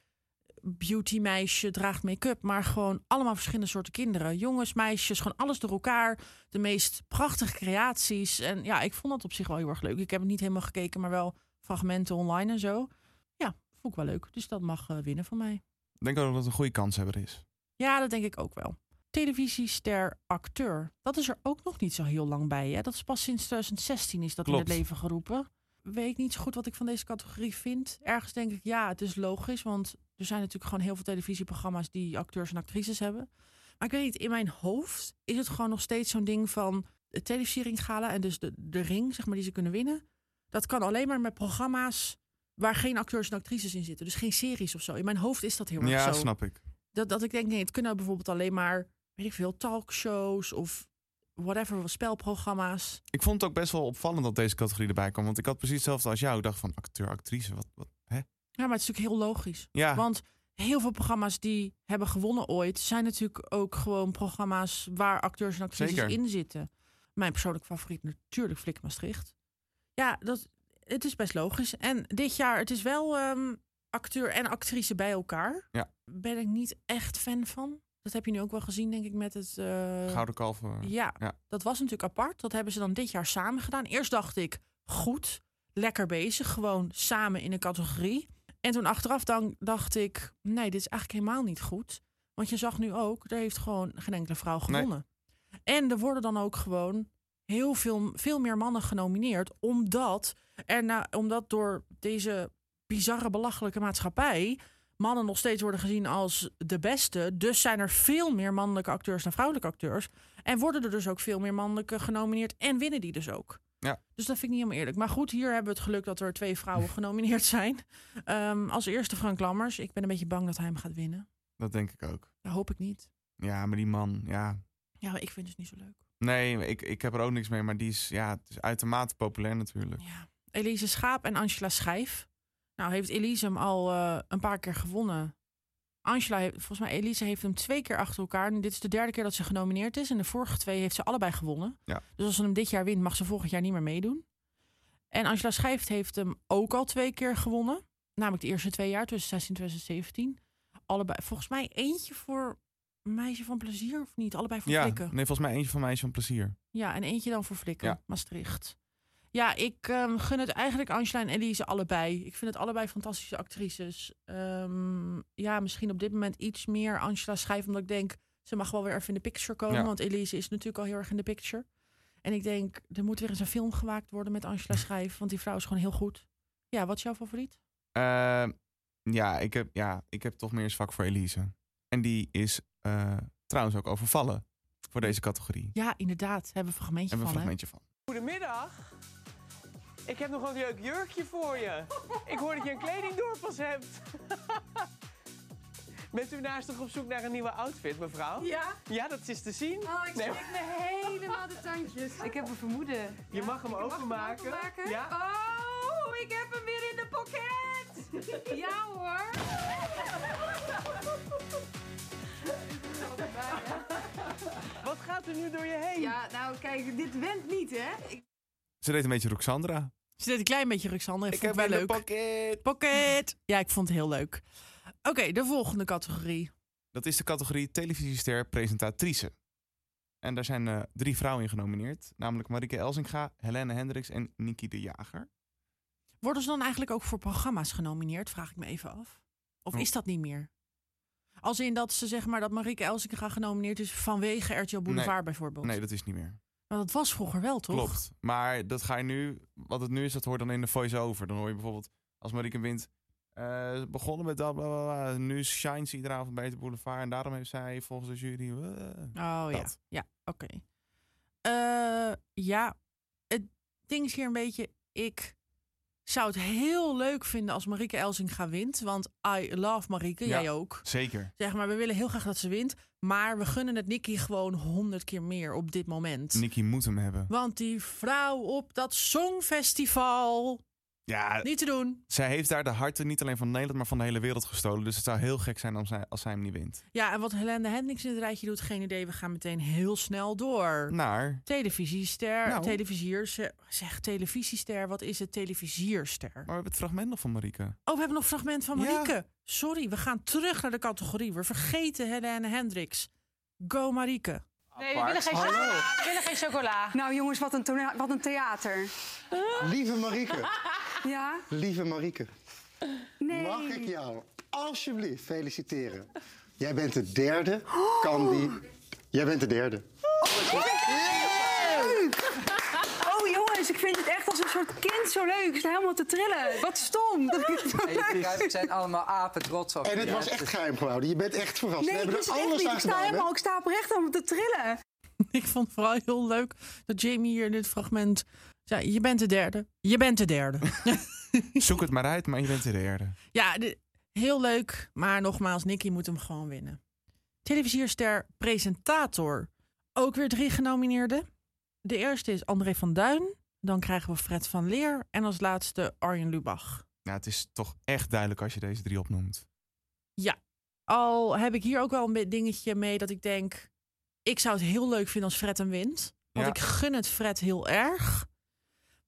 Speaker 2: beautymeisje draagt make-up, maar gewoon allemaal verschillende soorten kinderen. Jongens, meisjes, gewoon alles door elkaar. De meest prachtige creaties. En ja, ik vond dat op zich wel heel erg leuk. Ik heb het niet helemaal gekeken, maar wel fragmenten online en zo. Ja, vond ik wel leuk. Dus dat mag eh, winnen van mij.
Speaker 1: Ik denk ook dat het een goede kanshebber is.
Speaker 2: Ja, dat denk ik ook wel. Televisiester acteur. Dat is er ook nog niet zo heel lang bij. Hè? Dat is pas sinds 2016 is dat
Speaker 1: Klopt.
Speaker 2: in het leven geroepen. Weet ik niet zo goed wat ik van deze categorie vind. Ergens denk ik, ja, het is logisch. Want er zijn natuurlijk gewoon heel veel televisieprogramma's die acteurs en actrices hebben. Maar ik weet niet, in mijn hoofd is het gewoon nog steeds zo'n ding van... het televisieringgala en dus de, de ring, zeg maar, die ze kunnen winnen. Dat kan alleen maar met programma's waar geen acteurs en actrices in zitten. Dus geen series of zo. In mijn hoofd is dat heel erg
Speaker 1: Ja,
Speaker 2: zo
Speaker 1: snap ik.
Speaker 2: dat, dat ik denk, nee, het kunnen bijvoorbeeld alleen maar, weet ik veel, talkshows of whatever, spelprogramma's.
Speaker 1: Ik vond het ook best wel opvallend dat deze categorie erbij kwam. Want ik had precies hetzelfde als jou. Ik dacht van acteur, actrice, wat... wat hè?
Speaker 2: Ja, maar het is natuurlijk heel logisch.
Speaker 1: Ja,
Speaker 2: Want heel veel programma's die hebben gewonnen ooit, zijn natuurlijk ook gewoon programma's waar acteurs en actrices
Speaker 1: Zeker.
Speaker 2: in zitten. Mijn persoonlijke favoriet natuurlijk Flik Maastricht. Ja, dat, het is best logisch. En dit jaar, het is wel ehm, acteur en actrice bij elkaar.
Speaker 1: Ja.
Speaker 2: Ben ik niet echt fan van. Dat heb je nu ook wel gezien, denk ik, met het... eh,
Speaker 1: Gouden Kalf. eh,
Speaker 2: Ja,
Speaker 1: Ja.
Speaker 2: dat was natuurlijk apart. Dat hebben ze dan dit jaar samen gedaan. Eerst dacht ik, goed, lekker bezig. Gewoon samen in een categorie. En toen achteraf dan dacht ik, nee, dit is eigenlijk helemaal niet goed. Want je zag nu ook, er heeft gewoon geen enkele vrouw gewonnen. En er worden dan ook gewoon heel veel, veel meer mannen genomineerd. Omdat, er na, omdat door deze bizarre, belachelijke maatschappij... mannen nog steeds worden gezien als de beste. Dus zijn er veel meer mannelijke acteurs dan vrouwelijke acteurs. En worden er dus ook veel meer mannelijke genomineerd. En winnen die dus ook.
Speaker 1: Ja.
Speaker 2: Dus dat vind ik niet helemaal eerlijk. Maar goed, hier hebben we het geluk dat er twee vrouwen genomineerd zijn. Ehm, als eerste Frank Lammers. Ik ben een beetje bang dat hij hem gaat winnen.
Speaker 1: Dat denk ik ook.
Speaker 2: Dat hoop ik niet.
Speaker 1: Ja, maar die man, ja...
Speaker 2: Ja, ik vind het dus niet zo leuk.
Speaker 1: Nee, ik, ik heb er ook niks mee, maar die is, ja, het is uitermate populair natuurlijk.
Speaker 2: Ja. Elise Schaap en Angela Schijf. Nou, heeft Elise hem al eh, een paar keer gewonnen. Angela, heeft, volgens mij, Elise heeft hem twee keer achter elkaar. En dit is de derde keer dat ze genomineerd is. En de vorige twee heeft ze allebei gewonnen.
Speaker 1: Ja.
Speaker 2: Dus als ze hem dit jaar wint, mag ze volgend jaar niet meer meedoen. En Angela Schijf heeft hem ook al twee keer gewonnen. Namelijk de eerste twee jaar, tussen 16 en 2017. Allebei, volgens mij eentje voor Meisje van Plezier of niet? Allebei voor
Speaker 1: Ja,
Speaker 2: Flikken.
Speaker 1: nee, volgens mij eentje van mij is van plezier.
Speaker 2: Ja, en eentje dan voor Flikken,
Speaker 1: Ja.
Speaker 2: Maastricht. Ja, ik ehm, gun het eigenlijk Angela en Elise allebei. Ik vind het allebei fantastische actrices. Ehm, ja, misschien op dit moment iets meer Angela schrijven, omdat ik denk, ze mag wel weer even in de picture komen.
Speaker 1: Ja.
Speaker 2: Want Elise is natuurlijk al heel erg in de picture. En ik denk, er moet weer eens een film gemaakt worden met Angela Schijf, want die vrouw is gewoon heel goed. Ja, wat is jouw favoriet?
Speaker 1: Eh, ja, ik heb, ja, ik heb toch meer een zwak voor Elise. En die is eh, trouwens ook overvallen voor deze categorie.
Speaker 2: Ja, inderdaad. Daar hebben we een fragmentje
Speaker 1: Hebben we een
Speaker 2: van, hè?
Speaker 1: fragmentje van.
Speaker 10: Goedemiddag. Ik heb nog een leuk jurkje voor je. Ik hoor dat je een kledingdoorpas hebt. Bent u naast toch op zoek naar een nieuwe outfit, mevrouw?
Speaker 5: Ja?
Speaker 10: Ja, dat is te zien.
Speaker 5: Oh, ik
Speaker 10: Nee.
Speaker 5: schrik me helemaal de tandjes. Ik heb een vermoeden.
Speaker 10: Je mag hem openmaken. Ja.
Speaker 5: Oh, ik heb hem weer in de pocket. ja hoor.
Speaker 10: Wat gaat er nu door je heen?
Speaker 5: Ja, nou kijk, dit went niet hè. Ik-
Speaker 1: Ze deed een beetje Roxandra.
Speaker 2: Ze deed een klein beetje Ruxandra. Ik vond het wel
Speaker 1: een
Speaker 2: leuk.
Speaker 1: pakket.
Speaker 2: Pocket! Ja, ik vond het heel leuk. Oké, de volgende categorie.
Speaker 1: Dat is de categorie televisiester presentatrice. En daar zijn eh, drie vrouwen in genomineerd. Namelijk Marike Elzinga, Helene Hendricks en Niki de Jager.
Speaker 2: Worden ze dan eigenlijk ook voor programma's genomineerd? Vraag ik me even af. Of
Speaker 1: Hm.
Speaker 2: is dat niet meer? Als in dat ze zeg maar dat Marieke Elsinga genomineerd is vanwege RTL Boulevard bijvoorbeeld.
Speaker 1: Nee, dat is niet meer.
Speaker 2: Maar dat was vroeger wel, toch?
Speaker 1: Klopt. Maar dat ga je nu, wat het nu is, dat hoort dan in de voice-over. Dan hoor je bijvoorbeeld, als Marieke Wind eh, begonnen met dat, bla, bla, bla. nu shines iedere avond bij de boulevard. En daarom heeft zij volgens de jury... eh,
Speaker 2: Oh ja,
Speaker 1: Dat.
Speaker 2: ja, oké. Eh, ja, het ding is hier een beetje, ik zou het heel leuk vinden als Marieke Elsinga wint. Want I love Marieke,
Speaker 1: Ja.
Speaker 2: jij ook.
Speaker 1: zeker.
Speaker 2: Zeg maar, we willen heel graag dat ze wint. Maar we gunnen het Nicky gewoon honderd keer meer op dit moment.
Speaker 1: Nicky moet hem hebben.
Speaker 2: Want die vrouw op dat songfestival,
Speaker 1: Ja,
Speaker 2: niet te doen.
Speaker 1: zij heeft daar de harten niet alleen van Nederland, maar van de hele wereld gestolen. Dus het zou heel gek zijn als zij, als zij hem niet wint.
Speaker 2: Ja, en wat Helene Hendricks in het rijtje doet, geen idee. We gaan meteen heel snel door.
Speaker 1: Naar...
Speaker 2: Televisiester,
Speaker 1: Nou.
Speaker 2: televisiers, eh, zeg televisiester, wat is het televisierster?
Speaker 1: Maar we hebben het fragment nog van Marieke.
Speaker 2: Oh, we hebben nog een fragment van
Speaker 1: Ja.
Speaker 2: Marieke. Sorry, we gaan terug naar de categorie. We vergeten Helene Hendricks. Go Marieke.
Speaker 11: Nee, we willen geen, chocola. we willen geen chocola.
Speaker 5: Nou jongens, wat een, tona- wat een theater.
Speaker 12: Lieve Marieke,
Speaker 5: Ja?
Speaker 12: lieve Marieke,
Speaker 5: Nee.
Speaker 12: mag ik jou alsjeblieft feliciteren? Jij bent de derde kan die. Jij bent de derde.
Speaker 5: Oh jongens, ik vind het echt als een soort kind zo leuk. Ik sta helemaal te trillen. Wat stom. Dat ik het zo leuk
Speaker 13: Het zijn allemaal apen trots op.
Speaker 12: En het was echt geheim gehouden. Je bent echt verrast.
Speaker 5: Nee, ik
Speaker 12: We hebben
Speaker 5: wist
Speaker 12: er
Speaker 5: het echt
Speaker 12: alles
Speaker 5: niet.
Speaker 12: aan
Speaker 5: Ik sta
Speaker 12: gedaan. hè?
Speaker 5: helemaal, ik sta oprecht helemaal te trillen.
Speaker 2: Ik vond het vooral heel leuk dat Jamie hier in dit fragment zei... Je bent de derde. Je bent de derde.
Speaker 1: Zoek het maar uit, maar je bent de derde.
Speaker 2: ja, de- heel leuk. Maar nogmaals, Nicky moet hem gewoon winnen. Televisierster, presentator. Ook weer drie genomineerden. De eerste is André van Duin. Dan krijgen we Fred van Leer. En als laatste Arjen Lubach.
Speaker 1: Nou, het is toch echt duidelijk als je deze drie opnoemt.
Speaker 2: Al heb ik hier ook wel een be- dingetje mee dat ik denk... Ik zou het heel leuk vinden als Fred hem wint. Want
Speaker 1: Ja.
Speaker 2: ik gun het Fred heel erg.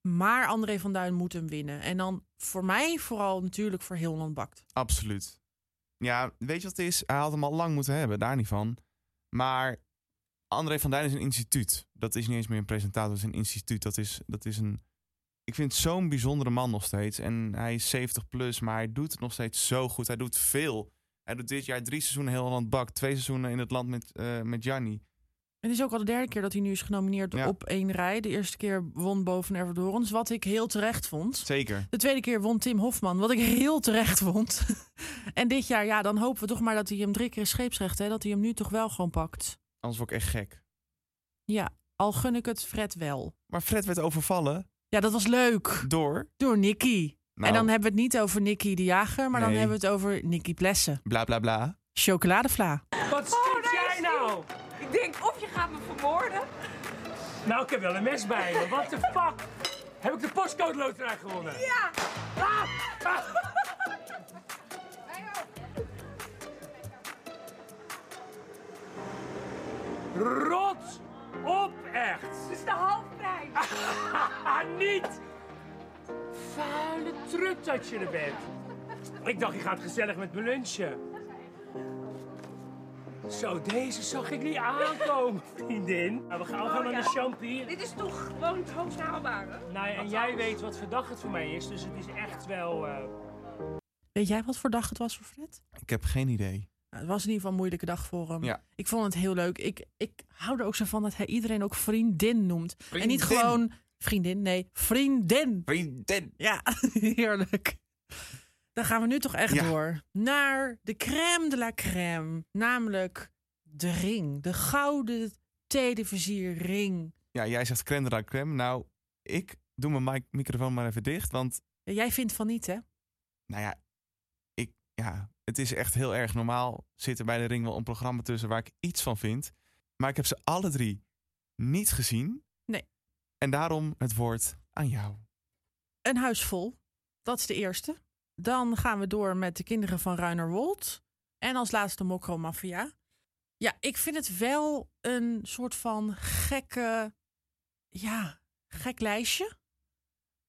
Speaker 2: Maar André van Duin moet hem winnen. En dan voor mij vooral natuurlijk voor heel Land Bakt.
Speaker 1: Absoluut. Ja, weet je wat het is? Hij had hem al lang moeten hebben, daar niet van. Maar André van Duin is een instituut. Dat is niet eens meer een presentator, dat is een instituut. Dat is, dat is een... Ik vind het zo'n bijzondere man nog steeds. En hij is 70 plus, maar hij doet het nog steeds zo goed. Hij doet veel. Hij doet dit jaar drie seizoenen heel Holland Bak. Twee seizoenen in het land met, eh met Gianni.
Speaker 2: Het is ook al de derde keer dat hij nu is genomineerd
Speaker 1: Ja.
Speaker 2: op één rij. De eerste keer won Boven Ervedorens, wat ik heel terecht vond.
Speaker 1: Zeker.
Speaker 2: De tweede keer won Tim Hofman, wat ik heel terecht vond. en dit jaar, ja, dan hopen we toch maar dat hij hem drie keer scheepsrecht... Hè, dat hij hem nu toch wel gewoon pakt.
Speaker 1: Anders word ik echt gek.
Speaker 2: Ja, al gun ik het Fred wel.
Speaker 1: Maar Fred werd overvallen
Speaker 2: Ja, dat was leuk.
Speaker 1: door...
Speaker 2: Door Nicky.
Speaker 1: Nou,
Speaker 2: En dan hebben we het niet over Nicky de Jager, maar dan
Speaker 1: Nee.
Speaker 2: hebben we het over Nicky Plessen.
Speaker 1: bla bla bla.
Speaker 2: Chocoladevla.
Speaker 14: Wat stinkt jij nou?
Speaker 5: Oh, Ik denk, of je gaat me vermoorden.
Speaker 14: Nou, ik heb wel een mes bij me. Wat de fuck? Heb ik de postcode loterij gewonnen? Ah.
Speaker 5: Ja.
Speaker 14: Rot op, echt!
Speaker 5: Het is de hoofdprijs.
Speaker 14: Niet! Vuile trut dat je er bent. Ik dacht, je gaat gezellig met me lunchen. Zo, deze zag ik niet aankomen, vriendin. Nou, we gaan gewoon naar de champie.
Speaker 5: Dit is toch gewoon het hoogst haalbare?
Speaker 14: Nou, en jij weet wat verdacht het voor mij is, dus het is echt wel... eh,
Speaker 2: Weet jij wat voor dag het was voor Fred?
Speaker 1: Ik heb geen idee.
Speaker 2: Nou, het was in ieder geval een moeilijke dag voor hem.
Speaker 1: Ja.
Speaker 2: Ik vond het heel leuk. Ik, ik hou er ook zo van dat hij iedereen ook vriendin noemt. En niet
Speaker 1: Vriendin.
Speaker 2: gewoon vriendin, nee, vriendin.
Speaker 1: Vriendin.
Speaker 2: Ja, heerlijk. Dan gaan we nu toch echt
Speaker 1: Ja.
Speaker 2: door naar de crème de la crème. Namelijk de ring. De gouden televisiering.
Speaker 1: Ja, jij zegt crème de la crème. Nou, ik doe mijn mic- microfoon maar even dicht. Want,
Speaker 2: Ja, Jij vindt van niet, hè?
Speaker 1: nou ja, ik, ja, het is echt heel erg normaal. Zit er bij de ring wel een programma tussen waar ik iets van vind. Maar ik heb ze alle drie niet gezien.
Speaker 2: Nee.
Speaker 1: En daarom het woord aan jou.
Speaker 2: Een huis vol. Dat is de eerste. Dan gaan we door met de kinderen van Ruiner Wold. En als laatste Mokro Mafia. Ja, ik vind het wel een soort van gekke... Ja, gek lijstje.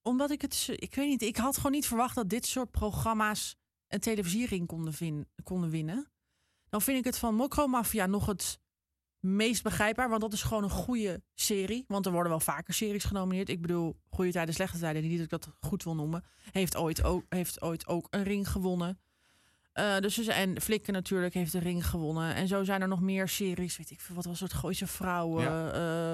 Speaker 2: Omdat ik het... zo- Ik weet niet, ik had gewoon niet verwacht dat dit soort programma's... een televisiering konden, vin- konden winnen. Dan vind ik het van Mokro Mafia nog het meest begrijpbaar. Want dat is gewoon een goede serie. Want er worden wel vaker series genomineerd. Ik bedoel, Goede Tijden, Slechte Tijden. Niet dat ik dat goed wil noemen. Heeft ooit ook, heeft ooit ook een ring gewonnen. Eh, dus, ze- en Flikken natuurlijk heeft de ring gewonnen. En zo zijn er nog meer series. Weet ik veel, wat was het? Gooise Vrouwen,
Speaker 15: Ja.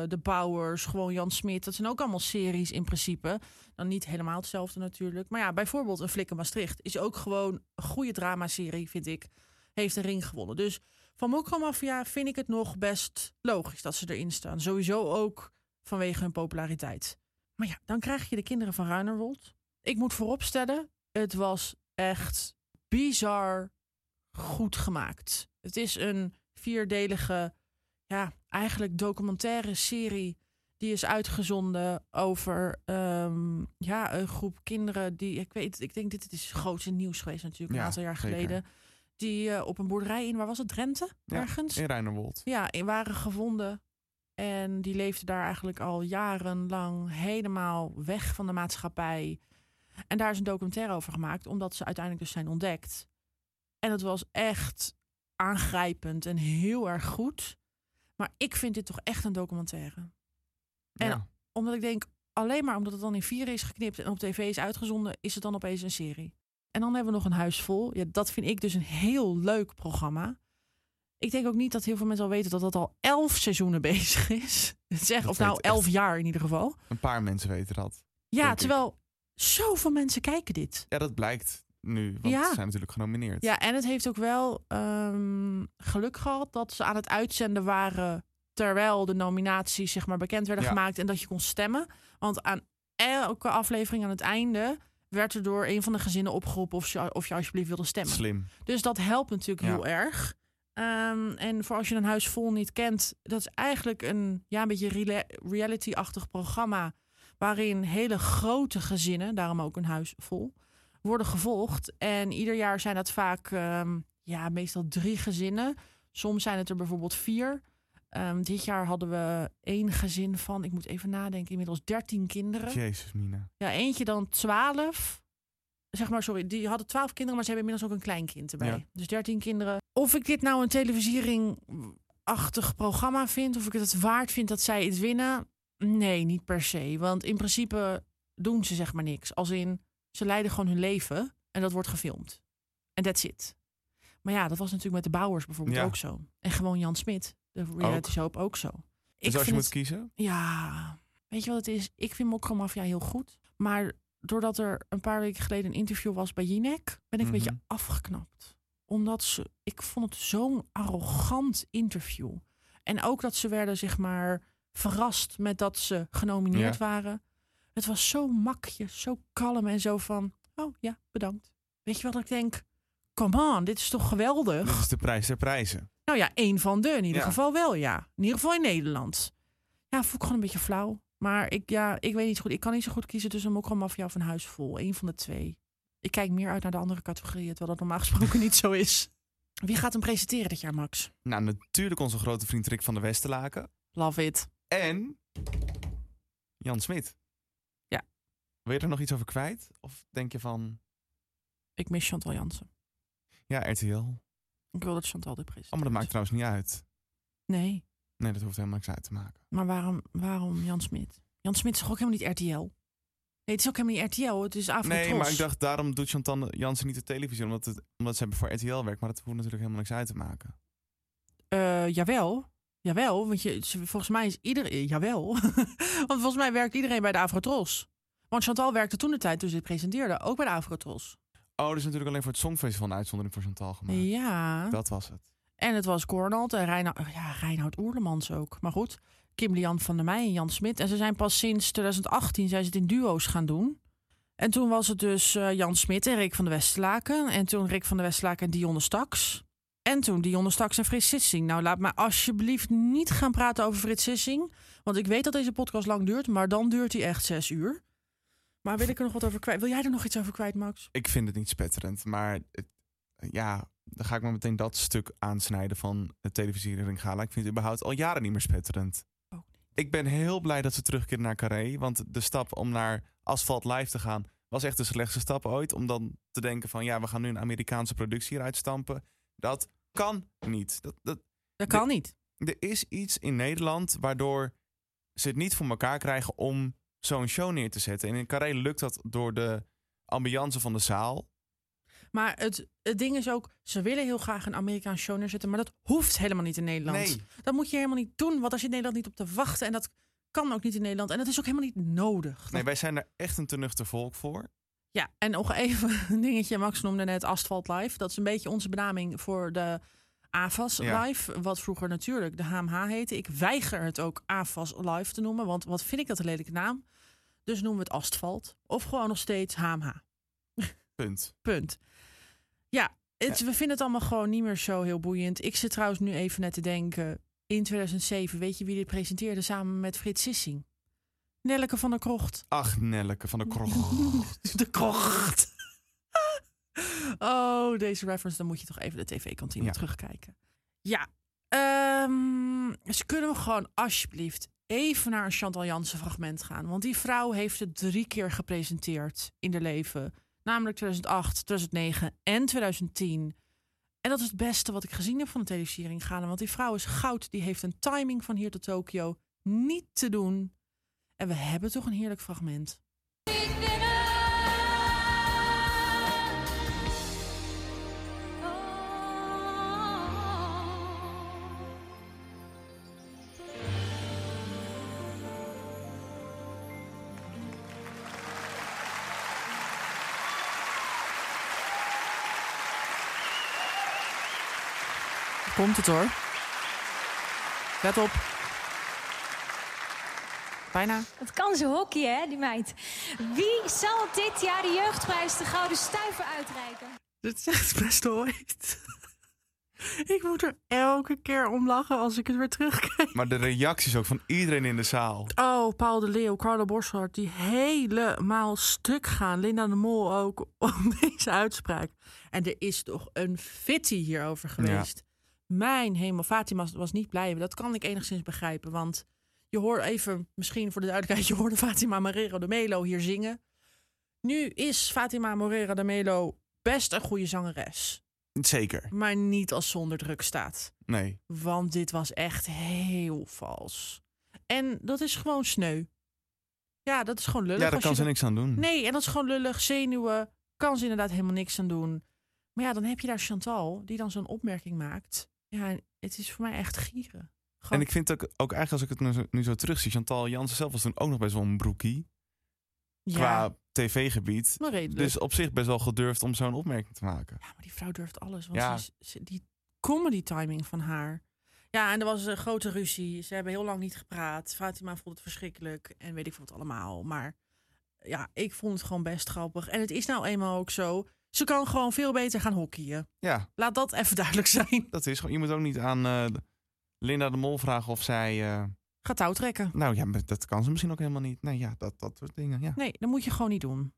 Speaker 2: eh, De Bouwers, gewoon Jan Smit. Dat zijn ook allemaal series in principe. Dan niet helemaal hetzelfde natuurlijk. Maar ja, bijvoorbeeld een Flikken Maastricht is ook gewoon een goede dramaserie, vind ik. Heeft een ring gewonnen. Dus van Mokko Mafia vind ik het nog best logisch dat ze erin staan. Sowieso ook vanwege hun populariteit. Maar ja, dan krijg je de kinderen van Ruinerwold. Ik moet vooropstellen, het was echt bizar goed gemaakt. Het is een vierdelige, ja, eigenlijk documentaire serie. Die is uitgezonden over ehm, ja, een groep kinderen die, ik weet, ik denk dit het is groot in het nieuws geweest natuurlijk,
Speaker 1: Ja,
Speaker 2: een aantal jaar
Speaker 1: zeker.
Speaker 2: geleden. Die eh, op een boerderij in, waar was het, Drenthe?
Speaker 1: Ja,
Speaker 2: Ergens?
Speaker 1: In Reinerwold.
Speaker 2: Ja, in waren gevonden. En die leefden daar eigenlijk al jarenlang helemaal weg van de maatschappij. En daar is een documentaire over gemaakt, omdat ze uiteindelijk dus zijn ontdekt. En het was echt aangrijpend en heel erg goed. Maar ik vind dit toch echt een documentaire. En
Speaker 1: Ja.
Speaker 2: omdat ik denk, alleen maar omdat het dan in vier is geknipt en op tv is uitgezonden, is het dan opeens een serie. En dan hebben we nog een huis vol. Ja, dat vind ik dus een heel leuk programma. Ik denk ook niet dat heel veel mensen al weten dat dat al elf seizoenen bezig is. Zeg,
Speaker 1: Dat
Speaker 2: of nou
Speaker 1: weet echt
Speaker 2: elf jaar in ieder geval.
Speaker 1: Een paar mensen weten dat.
Speaker 2: Ja,
Speaker 1: denk ik.
Speaker 2: terwijl zoveel mensen kijken dit.
Speaker 1: Ja, dat blijkt nu. Want
Speaker 2: Ja.
Speaker 1: ze zijn natuurlijk genomineerd.
Speaker 2: Ja, en het heeft ook wel ehm, geluk gehad dat ze aan het uitzenden waren terwijl de nominaties zeg maar bekend werden
Speaker 1: Ja.
Speaker 2: gemaakt en dat je kon stemmen. Want aan elke aflevering aan het einde werd er door een van de gezinnen opgeroepen of, ze, of je alsjeblieft wilde stemmen.
Speaker 1: Slim.
Speaker 2: Dus dat helpt natuurlijk
Speaker 1: Ja.
Speaker 2: heel erg. Ehm, en voor als je een huis vol niet kent, dat is eigenlijk een, ja, een beetje rela- reality-achtig programma. Waarin hele grote gezinnen, daarom ook een huis vol, worden gevolgd. En ieder jaar zijn dat vaak, ehm, ja, meestal drie gezinnen. Soms zijn het er bijvoorbeeld vier. Ehm, dit jaar hadden we één gezin van, ik moet even nadenken, inmiddels 13 kinderen.
Speaker 1: Jezus, Mina.
Speaker 2: Ja, eentje dan 12. Zeg maar, sorry, die hadden 12 kinderen, maar ze hebben inmiddels ook een kleinkind erbij.
Speaker 1: Ja.
Speaker 2: Dus 13 kinderen. Of ik dit nou een televisiering-achtig programma vind, of ik het waard vind dat zij het winnen, nee, niet per se. Want in principe doen ze zeg maar niks. Als in, ze leiden gewoon hun leven en dat wordt gefilmd. En that's it. Maar ja, dat was natuurlijk met de Bouwers bijvoorbeeld
Speaker 1: Ja.
Speaker 2: ook zo. En gewoon Jan Smit, de reality soap, ook zo.
Speaker 1: dus als je
Speaker 2: vind
Speaker 1: moet
Speaker 2: het-
Speaker 1: kiezen.
Speaker 2: ja, weet je wat het is? Ik vind Mokro Mafia heel goed. Maar doordat er een paar weken geleden een interview was bij Jinek, ben ik
Speaker 1: Mhm.
Speaker 2: een beetje afgeknapt. Omdat ze, ik vond het zo'n arrogant interview. En ook dat ze werden, zeg maar, verrast met dat ze genomineerd
Speaker 15: Ja.
Speaker 2: waren. Het was zo makjes, zo kalm en zo van, oh ja, bedankt. Weet je wat ik denk? Come on, dit is toch geweldig?
Speaker 1: Dit is de prijs der prijzen.
Speaker 2: Nou ja, één van de in ieder
Speaker 1: Ja.
Speaker 2: geval wel, ja. In ieder geval in Nederland. Ja, voel ik gewoon een beetje flauw. Maar ik, ja, ik weet niet goed. Ik kan niet zo goed kiezen tussen Mokro Mafia of een huis vol. Eén van de twee. Ik kijk meer uit naar de andere categorieën, terwijl dat normaal gesproken niet zo is. Wie gaat hem presenteren dit jaar, Max?
Speaker 1: Nou, natuurlijk onze grote vriend Rick van der Westerlaken.
Speaker 2: Love it.
Speaker 1: En Jan Smit.
Speaker 2: Ja.
Speaker 1: Wil je er nog iets over kwijt? Of denk je van,
Speaker 2: Ik mis Chantal Jansen.
Speaker 1: ja, RTL.
Speaker 2: Ik wil dat Chantal dit presenteert.
Speaker 1: Oh, maar dat maakt trouwens niet uit.
Speaker 2: Nee,
Speaker 1: Nee, dat hoeft helemaal niks uit te maken.
Speaker 2: maar waarom, waarom Jan Smit? Jan Smit is toch ook helemaal niet RTL? Nee, het is ook helemaal niet RTL. Het is Afro
Speaker 1: Nee, maar ik dacht, daarom doet Chantal Jansen niet de televisie. Omdat, het, omdat ze voor RTL werkt. Maar dat hoeft natuurlijk helemaal niks uit te maken.
Speaker 2: Eh, jawel. Jawel, want je, ze- volgens mij is iedereen... Jawel. want volgens mij werkt iedereen bij de Avrotros. Want Chantal werkte toen de tijd, toen ze dit presenteerde, ook bij de Avrotros.
Speaker 1: Oh, dat is natuurlijk alleen voor het Songfestival een uitzondering voor Chantal gemaakt.
Speaker 2: Ja.
Speaker 1: Dat was het.
Speaker 2: En het was Cornald en Reinoud, ja, Reinoud Oerlemans ook. Maar goed, Kim Lian van der Meij en Jan Smit. En ze zijn pas sinds 2018 zijn ze het in duo's gaan doen. En toen was het dus eh, Jan Smit en Rick van der Westlaken. En toen Rick van der Westlaken en Dionne Staks. En toen Dionne Staks en Frits Sissing. Nou, laat me alsjeblieft niet gaan praten over Frits Sissing. Want ik weet dat deze podcast lang duurt, maar dan duurt hij echt zes uur. Maar wil ik er nog wat over kwijt? Wil jij er nog iets over kwijt, Max?
Speaker 1: Ik vind het niet spetterend. Maar het- ja, dan ga ik maar meteen dat stuk aansnijden van het televisiering Gala. Ik vind het überhaupt al jaren niet meer spetterend. Ik ben heel blij dat ze terugkeert naar Carré. Want de stap om naar Asphalt Live te gaan was echt de slechtste stap ooit. Om dan te denken van ja, we gaan nu een Amerikaanse productie hieruit stampen. Dat kan niet. Dat, dat,
Speaker 2: dat kan niet.
Speaker 1: Er is iets in Nederland waardoor ze het niet voor elkaar krijgen om zo'n show neer te zetten. En in Carré lukt dat door de ambiance van de zaal.
Speaker 2: Maar het, het ding is ook, ze willen heel graag een Amerikaans show neerzetten. Maar dat hoeft helemaal niet in Nederland.
Speaker 1: Nee.
Speaker 2: Dat moet je helemaal niet doen. Want daar zit Nederland niet op te wachten. En dat kan ook niet in Nederland. En dat is ook helemaal niet nodig.
Speaker 1: Nee, wij zijn daar echt een te nuchter volk voor.
Speaker 2: Ja, en nog even een dingetje. Max noemde net Asphalt Live. Dat is een beetje onze benaming voor de AFAS
Speaker 1: Ja.
Speaker 2: Live. Wat vroeger natuurlijk de HMH heette. Ik weiger het ook AFAS Live te noemen. Want wat vind ik dat een lelijke naam? Dus noemen we het Asphalt. Of gewoon nog steeds HMH.
Speaker 1: Punt.
Speaker 2: Punt. Ja, het, we vinden het allemaal gewoon niet meer zo heel boeiend. Ik zit trouwens nu even net te denken. In 2007, weet je wie dit presenteerde samen met Frits Sissing? Nelleke van der Krocht.
Speaker 1: Ach, Nelleke van de Krocht.
Speaker 2: De Krocht. Oh, deze reference, dan moet je toch even de tv-kantine
Speaker 1: Ja.
Speaker 2: terugkijken. Ja, ehm, dus kunnen we gewoon alsjeblieft even naar een Chantal Jansen fragment gaan. Want die vrouw heeft het drie keer gepresenteerd in haar leven. Namelijk 2008, 2009 en 2010. En dat is het beste wat ik gezien heb van de televisiering gaan. Want die vrouw is goud. Die heeft een timing van hier tot Tokio niet te doen. En we hebben toch een heerlijk fragment.
Speaker 15: Oh.
Speaker 2: Komt het hoor. Let op. Bijna.
Speaker 15: Het kan ze hockey, hè, die meid. Wie zal dit jaar de jeugdprijs de Gouden Stuiver uitreiken?
Speaker 2: Dit is echt best ooit. ik moet er elke keer om lachen als ik het weer terugkijk.
Speaker 1: Maar de reacties ook van iedereen in de zaal.
Speaker 2: Oh, Paul de Leeuw, Carlo Boshart, die helemaal stuk gaan. Linda de Mol ook om deze uitspraak. En er is toch een fitty hierover geweest. Mijn hemel, Fatima was niet blij. Maar dat kan ik enigszins begrijpen. Want je hoort even, misschien voor de duidelijkheid, je hoorde Fatima Marrero de Melo hier zingen. Nu is Fatima Morera de Melo best een goede zangeres.
Speaker 1: Zeker.
Speaker 2: Maar niet als zonder druk staat.
Speaker 1: Nee.
Speaker 2: Want dit was echt heel vals. En dat is gewoon sneu. Ja, dat is gewoon lullig.
Speaker 1: Ja, daar
Speaker 2: als
Speaker 1: kan
Speaker 2: je
Speaker 1: ze
Speaker 2: dat-
Speaker 1: niks aan doen.
Speaker 2: Nee, en dat is gewoon lullig. Zenuwen, kan ze inderdaad helemaal niks aan doen. Maar ja, dan heb je daar Chantal, die dan zo'n opmerking maakt. Ja, het is voor mij echt gieren.
Speaker 1: En ik vind ook, ook eigenlijk als ik het nu zo, nu zo terugzie... Chantal Jansen zelf was toen ook nog best wel een broekie.
Speaker 2: Ja.
Speaker 1: Qua tv-gebied.
Speaker 2: Maar redelijk.
Speaker 1: Dus op zich best wel gedurfd om zo'n opmerking te maken.
Speaker 2: Ah, Maar die vrouw durft alles. Want
Speaker 1: Ja.
Speaker 2: ze is- ze- die comedy timing van haar. Ja, en er was een grote ruzie. Ze hebben heel lang niet gepraat. Fatima vond het verschrikkelijk. En weet ik veel wat allemaal. Maar ja, ik vond het gewoon best grappig. En het is nou eenmaal ook zo. Ze kan gewoon veel beter gaan hockeyen.
Speaker 1: Ja.
Speaker 2: Laat dat even duidelijk zijn.
Speaker 1: Dat is gewoon... Je moet ook niet aan eh, Linda de Mol vragen of zij... eh,
Speaker 2: Ga touw trekken.
Speaker 1: nou ja, maar dat kan ze misschien ook helemaal niet. Nee, ja, dat, dat soort dingen, ja.
Speaker 2: Nee, dat moet je gewoon niet doen.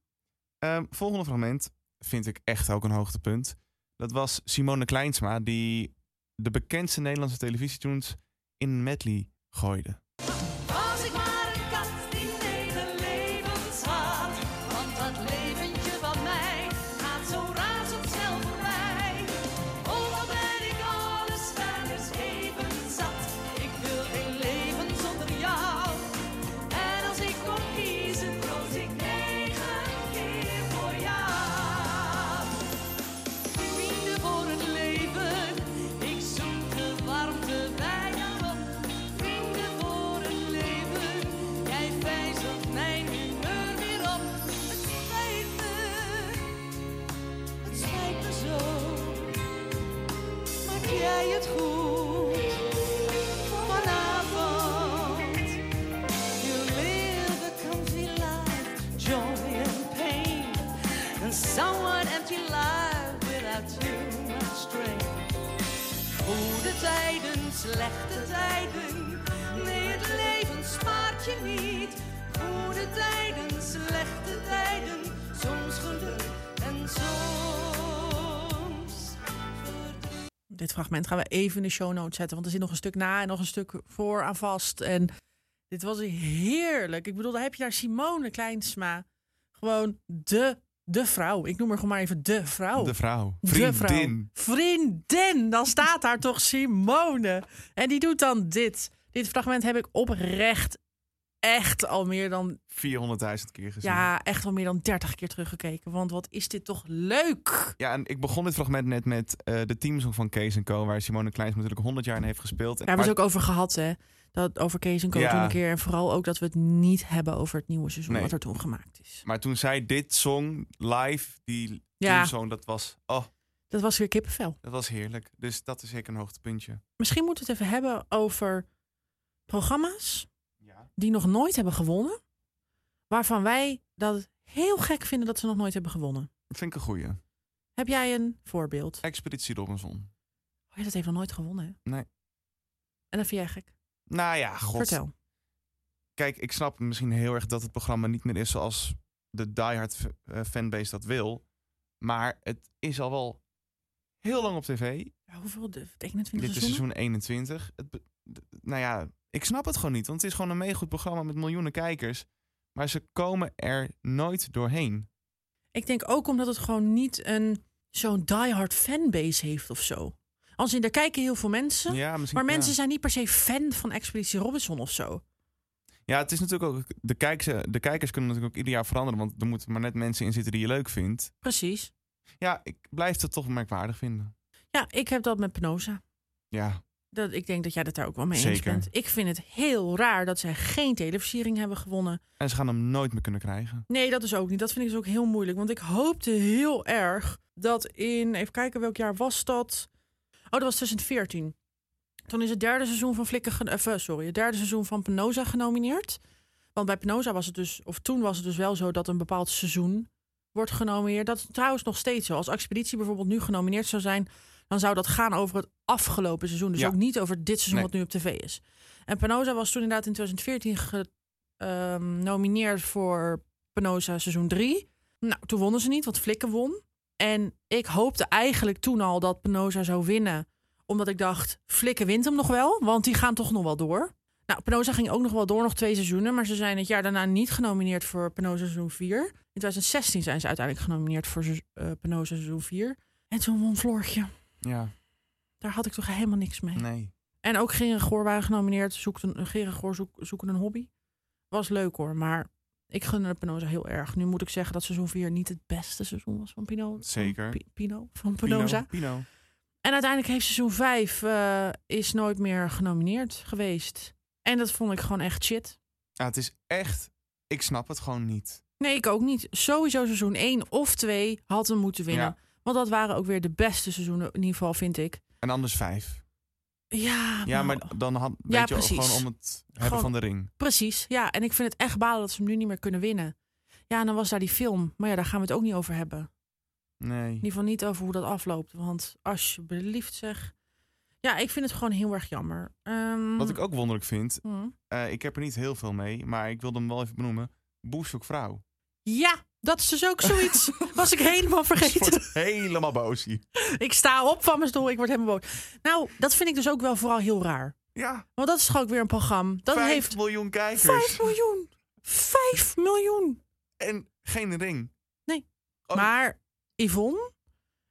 Speaker 1: Ehm, volgende fragment vind ik echt ook een hoogtepunt. Dat was Simone Kleinsma die de bekendste Nederlandse televisietunes in een medley gooide.
Speaker 8: Als ik maar een kat die negen levens had. Want dat leventje van mij gaat zo razendsnel voorbij. Oh, wat ben ik alles verder even zat. Ik wil geen leven zonder jou. En als ik kon kiezen, koos ik negen keer voor jou. Liefde voor het leven, ik zoek de warmte bij jou op. Vrienden voor het leven, jij wijzelt mijn humeur weer op. Het spijt me, het spijt me zo. Maak jij het goed vanavond? You live a comfy life, joy and pain. And somewhat empty life without too much strain. Goede tijden, slechte tijden, nee het leven spaart je niet. Goede tijden, slechte tijden, soms geluk en soms.
Speaker 2: Dit fragment gaan we even in de show notes zetten. Want er zit nog een stuk na en nog een stuk voor aan vast. En dit was heerlijk. Ik bedoel, daar heb je daar Simone Kleinsma. Gewoon de, de vrouw. Ik noem haar gewoon maar even de vrouw.
Speaker 1: De vrouw.
Speaker 2: Oh, De
Speaker 1: Vriendin.
Speaker 2: vrouw. Vriendin. Dan staat daar toch Simone. En die doet dan dit. Dit fragment heb ik oprecht echt al meer dan
Speaker 1: 400.000 keer gezien.
Speaker 2: Ja, echt wel meer dan 30 keer teruggekeken. Want wat is dit toch leuk?
Speaker 1: Ja, en ik begon dit fragment net met eh, de teamsong van Kees Co. Waar Simone Kleins natuurlijk 100 jaar in heeft gespeeld.
Speaker 2: Daar hebben we het ook over gehad, hè? Dat over Kees en Co
Speaker 1: Ja.
Speaker 2: toen een keer. En vooral ook dat we het niet hebben over het nieuwe seizoen
Speaker 1: Nee.
Speaker 2: wat er toen gemaakt is.
Speaker 1: Maar toen zij dit zong live, die
Speaker 2: Ja.
Speaker 1: teamsong, dat was, oh,
Speaker 2: Dat was weer kippenvel.
Speaker 1: dat was heerlijk. Dus dat is zeker een hoogtepuntje.
Speaker 2: Misschien moeten we het even hebben over programma's die nog nooit hebben gewonnen. Waarvan wij dat heel gek vinden dat ze nog nooit hebben gewonnen.
Speaker 1: Dat vind ik een goeie.
Speaker 2: Heb jij een voorbeeld?
Speaker 1: Expeditie Robinson.
Speaker 2: Oh, ja, dat heeft nog nooit gewonnen, hè?
Speaker 1: Nee.
Speaker 2: En dat vind jij gek.
Speaker 1: Nou ja, god.
Speaker 2: Vertel.
Speaker 1: Kijk, ik snap misschien heel erg dat het programma niet meer is zoals de diehard f- eh, fanbase dat wil. Maar het is al wel heel lang op tv.
Speaker 2: Ja, hoeveel de- betekent het?
Speaker 1: Dit
Speaker 2: 20
Speaker 1: is seizoen 21. Het be- d- nou ja, ik snap het gewoon niet. Want het is gewoon een meegoed programma met miljoenen kijkers. Maar ze komen er nooit doorheen.
Speaker 2: Ik denk ook omdat het gewoon niet een zo'n diehard fanbase heeft of zo. Als in, daar kijken heel veel mensen.
Speaker 1: Ja, misschien-
Speaker 2: maar mensen
Speaker 1: ja.
Speaker 2: zijn niet per se fan van Expeditie Robinson of zo.
Speaker 1: Ja, het is natuurlijk ook. De, kijkers, de kijkers kunnen natuurlijk ook ieder jaar veranderen. Want er moeten maar net mensen in zitten die je leuk vindt.
Speaker 2: Precies.
Speaker 1: Ja, ik blijf het toch merkwaardig vinden.
Speaker 2: Ja, ik heb dat met Penosa.
Speaker 1: Ja,
Speaker 2: Dat, ik denk dat jij dat daar ook wel mee eens
Speaker 1: Zeker.
Speaker 2: bent. Ik vind het heel raar dat zij geen televisiering hebben gewonnen.
Speaker 1: en ze gaan hem nooit meer kunnen krijgen.
Speaker 2: Nee, dat is ook niet. Dat vind ik dus ook heel moeilijk. Want ik hoopte heel erg dat in... Even kijken, welk jaar was dat? Oh, dat was 2014. Toen is het derde seizoen van Flikker... gen- eh, sorry, het derde seizoen van Penosa genomineerd. Want bij Penosa was het dus... Of toen was het dus wel zo dat een bepaald seizoen wordt genomineerd. Dat is trouwens nog steeds zo. Als Expeditie bijvoorbeeld nu genomineerd zou zijn... dan zou dat gaan over het afgelopen seizoen. Dus
Speaker 16: Ja.
Speaker 2: ook niet over dit seizoen
Speaker 16: Nee.
Speaker 2: wat nu op tv is. En Penosa was toen inderdaad in 2014 genomineerd ehm, voor Penosa seizoen 3. Nou, toen wonnen ze niet, want Flikken won. En ik hoopte eigenlijk toen al dat Penosa zou winnen. Omdat ik dacht, Flikken wint hem nog wel, want die gaan toch nog wel door. Nou, Penosa ging ook nog wel door, nog twee seizoenen. Maar ze zijn het jaar daarna niet genomineerd voor Penosa seizoen 4. In 2016 zijn ze uiteindelijk genomineerd voor se- eh Penosa seizoen 4. En toen won Floortje.
Speaker 1: Ja,
Speaker 2: Daar had ik toch helemaal niks mee.
Speaker 1: nee.
Speaker 2: En ook Geren Goor waren genomineerd. Zoekt een, Geren Goor zoek, zoeken een hobby. Was leuk hoor, maar ik gun het Pinoza heel erg. Nu moet ik zeggen dat seizoen 4 niet het beste seizoen was van Pino.
Speaker 1: Zeker.
Speaker 2: Pi- Pino, van
Speaker 1: Hm. Pino,
Speaker 2: Pinoza.
Speaker 1: Pino.
Speaker 2: En uiteindelijk heeft seizoen 5 eh, is nooit meer genomineerd geweest. En dat vond ik gewoon echt shit.
Speaker 1: Ja, het is echt. Ik snap het gewoon niet.
Speaker 2: Nee, ik ook niet. Sowieso seizoen 1 of 2 had hem moeten winnen.
Speaker 1: Ja.
Speaker 2: Want dat waren ook weer de beste seizoenen, in ieder geval vind ik.
Speaker 1: En anders vijf.
Speaker 2: Ja,
Speaker 1: Ja,
Speaker 2: nou,
Speaker 1: maar dan had, weet
Speaker 2: Ja,
Speaker 1: je
Speaker 2: precies.
Speaker 1: gewoon om het hebben
Speaker 2: Gewoon-
Speaker 1: van de ring.
Speaker 2: Precies, ja. En ik vind het echt balen dat ze hem nu niet meer kunnen winnen. Ja, en dan was daar die film. Maar ja, daar gaan we het ook niet over hebben. In
Speaker 1: Nee.
Speaker 2: ieder geval niet over hoe dat afloopt. Want alsjeblieft zeg. Ja, ik vind het gewoon heel erg jammer. Ehm,
Speaker 1: Wat ik ook wonderlijk vind.
Speaker 2: Mm.
Speaker 1: eh, ik heb er niet heel veel mee, maar ik wilde hem wel even benoemen. Boer zoekt vrouw.
Speaker 2: Ja, dat is dus ook zoiets. was ik helemaal vergeten.
Speaker 1: Wordt helemaal boos hier.
Speaker 2: Ik sta op van mijn stoel, ik word helemaal boos. Nou, dat vind ik dus ook wel vooral heel raar.
Speaker 1: Ja.
Speaker 2: Want dat is gewoon ook weer een programma. Dat
Speaker 1: Vijf
Speaker 2: heeft
Speaker 1: miljoen kijkers.
Speaker 2: 5 miljoen. 5 miljoen.
Speaker 1: En geen ring.
Speaker 2: Nee.
Speaker 1: Oh.
Speaker 2: Maar Yvonne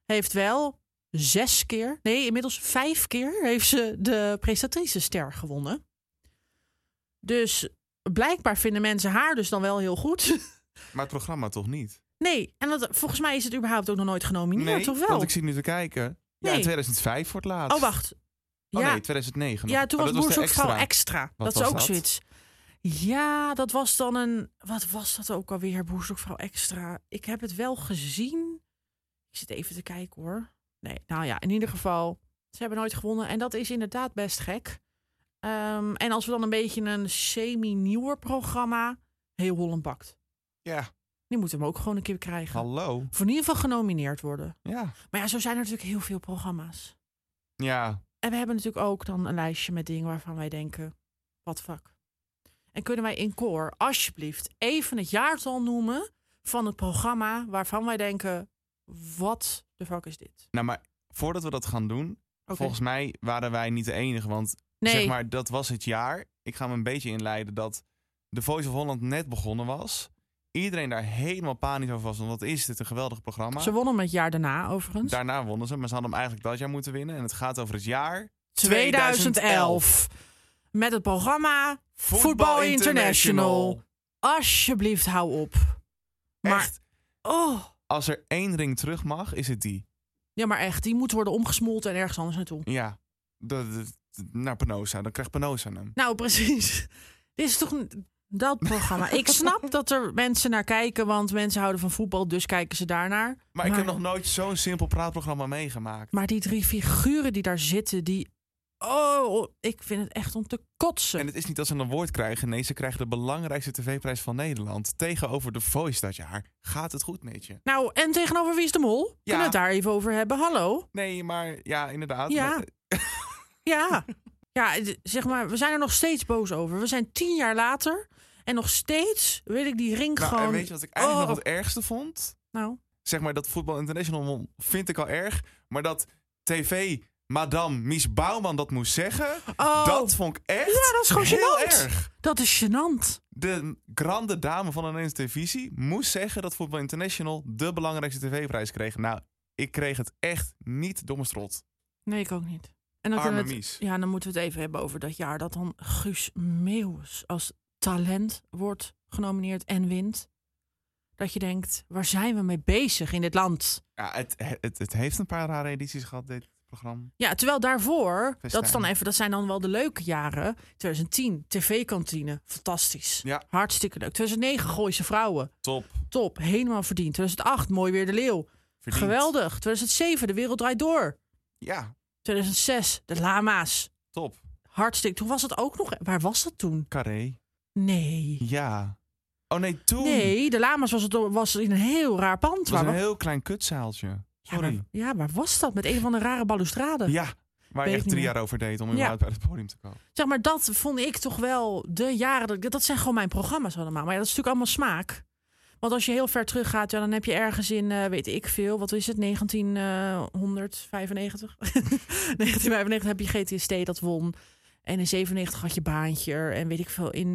Speaker 2: heeft wel zes keer, nee, inmiddels vijf keer heeft ze de prestatrice-ster gewonnen. Dus blijkbaar vinden mensen haar dus dan wel heel goed.
Speaker 1: Maar het programma toch niet?
Speaker 2: Nee, en dat, volgens mij is het überhaupt ook nog nooit genomineerd,
Speaker 1: nee,
Speaker 2: of wel?
Speaker 1: want ik zit nu te kijken. Ja,
Speaker 2: Nee.
Speaker 1: in 2005 voor het laatst.
Speaker 2: Oh, wacht.
Speaker 1: Oh
Speaker 2: ja.
Speaker 1: nee, 2009. nog.
Speaker 2: Ja, toen
Speaker 1: Oh,
Speaker 2: was
Speaker 1: dat
Speaker 2: Boer
Speaker 1: de
Speaker 2: zoekt vrouw extra.
Speaker 1: Wat
Speaker 2: dat is
Speaker 1: was
Speaker 2: ook zoiets. Ja, dat was dan een... Wat was dat ook alweer, Boer zoekt vrouw extra? Ik heb het wel gezien. Ik zit even te kijken hoor. Nee, nou ja, in ieder geval, ze hebben nooit gewonnen. En dat is inderdaad best gek. Ehm, en als we dan een beetje een semi-nieuwer programma... Heel Holland bakt.
Speaker 1: Ja.
Speaker 2: Die moeten hem ook gewoon een keer krijgen.
Speaker 1: Hallo.
Speaker 2: Voor in ieder geval genomineerd worden.
Speaker 1: Ja.
Speaker 2: Maar ja, zo zijn er natuurlijk heel veel programma's.
Speaker 1: Ja,
Speaker 2: En we hebben natuurlijk ook dan een lijstje met dingen waarvan wij denken: wat fuck. En kunnen wij in koor alsjeblieft even het jaartal noemen van het programma waarvan wij denken: wat de fuck is dit?
Speaker 1: nou maar voordat we dat gaan doen, volgens mij waren wij niet de enige. Want
Speaker 2: Nee.
Speaker 1: zeg maar, dat was het jaar. Ik ga me een beetje inleiden dat de Voice of Holland net begonnen was. Iedereen daar helemaal panisch over was. Want wat is dit, een geweldig programma.
Speaker 2: Ze wonnen hem het jaar daarna overigens.
Speaker 1: Daarna wonnen ze, maar ze hadden hem eigenlijk dat jaar moeten winnen. En het gaat over het jaar
Speaker 2: 2011. met het programma Voetbal, International. Alsjeblieft, hou op. Maar, oh,
Speaker 1: Als er één ring terug mag, is het die.
Speaker 2: ja, maar echt, die moet worden omgesmolten en ergens anders naartoe.
Speaker 1: Ja, dat- dat- naar Penosa. Dan krijgt Penosa hem.
Speaker 2: Nou, precies. Dit is toch een- dat programma. ik snap dat er mensen naar kijken, want mensen houden van voetbal, dus kijken ze daarnaar.
Speaker 1: Maar ik heb nog nooit zo'n simpel praatprogramma meegemaakt.
Speaker 2: Maar die drie figuren die daar zitten, die. Oh, ik vind het echt om te kotsen.
Speaker 1: En het is niet dat ze een woord krijgen. Nee, ze krijgen de belangrijkste tv-prijs van Nederland. Tegenover de Voice dat jaar. Gaat het goed met je?
Speaker 2: Nou, en tegenover wie is de mol? Kunnen we het daar even over hebben? Hallo?
Speaker 1: Nee, maar ja, inderdaad.
Speaker 2: Ja.
Speaker 1: maar- eh,
Speaker 2: Ja. ja, d- zeg maar, we zijn er nog steeds boos over. We zijn tien jaar later en nog steeds wil ik die ring
Speaker 1: Nou,
Speaker 2: gewoon...
Speaker 1: en weet je wat ik eigenlijk
Speaker 2: Oh.
Speaker 1: nog het ergste vond?
Speaker 2: Nou,
Speaker 1: Zeg maar dat Voetbal International won, vind ik al erg. Maar dat tv madame Mies Bouwman dat moest zeggen,
Speaker 2: Oh.
Speaker 1: dat vond ik echt
Speaker 2: ja, dat is gewoon
Speaker 1: heel
Speaker 2: gênant.
Speaker 1: erg.
Speaker 2: Dat is gênant.
Speaker 1: De grande dame van de Nederlandse televisie moest zeggen dat Voetbal International de belangrijkste tv-prijs kreeg. Nou, ik kreeg het echt niet domme strot.
Speaker 2: Nee, ik ook niet. En dan
Speaker 1: Arme
Speaker 2: kunnen we het,
Speaker 1: Mies.
Speaker 2: Ja, dan moeten we het even hebben over dat jaar dat dan Guus Meeuwis als talent wordt genomineerd en wint. Dat je denkt, waar zijn we mee bezig in dit land?
Speaker 1: Ja, het, het, het heeft een paar rare edities gehad, dit programma.
Speaker 2: Ja, terwijl daarvoor, dat, is dan
Speaker 1: Festijn.
Speaker 2: even, dat zijn dan wel de leuke jaren. 2010, tv-kantine, fantastisch.
Speaker 1: Ja.
Speaker 2: Hartstikke leuk. 2009, Gooise Vrouwen,
Speaker 1: Top.
Speaker 2: top, helemaal verdiend. 2008, Mooi Weer de Leeuw,
Speaker 1: Verdiend.
Speaker 2: geweldig. 2007, De Wereld Draait Door.
Speaker 1: Ja,
Speaker 2: 2006, De Lama's,
Speaker 1: top.
Speaker 2: hartstikke. Toen was dat ook nog, waar was dat toen?
Speaker 1: Carré.
Speaker 2: Nee.
Speaker 1: Ja. Oh nee, toen.
Speaker 2: Nee, de Lama's was, het, was in een heel raar pand.
Speaker 1: Het was een
Speaker 2: Waar-
Speaker 1: heel klein kutzaaltje. Sorry.
Speaker 2: Ja, waar was dat? Met een van de rare balustrade.
Speaker 1: Ja, waar
Speaker 2: Weet
Speaker 1: je
Speaker 2: ik
Speaker 1: echt drie
Speaker 2: niet
Speaker 1: jaar
Speaker 2: meer.
Speaker 1: over deed om
Speaker 2: Ja.
Speaker 1: überhaupt bij het podium te komen.
Speaker 2: Zeg maar, dat vond ik toch wel de jaren. Dat, ik- dat zijn gewoon mijn programma's allemaal. Maar ja, dat is natuurlijk allemaal smaak. Want als je heel ver teruggaat, ja, dan heb je ergens in, eh, weet ik veel, wat is het, 1995? 1995 heb je GTST dat won. En in 97 had je baantje. En weet ik veel, in,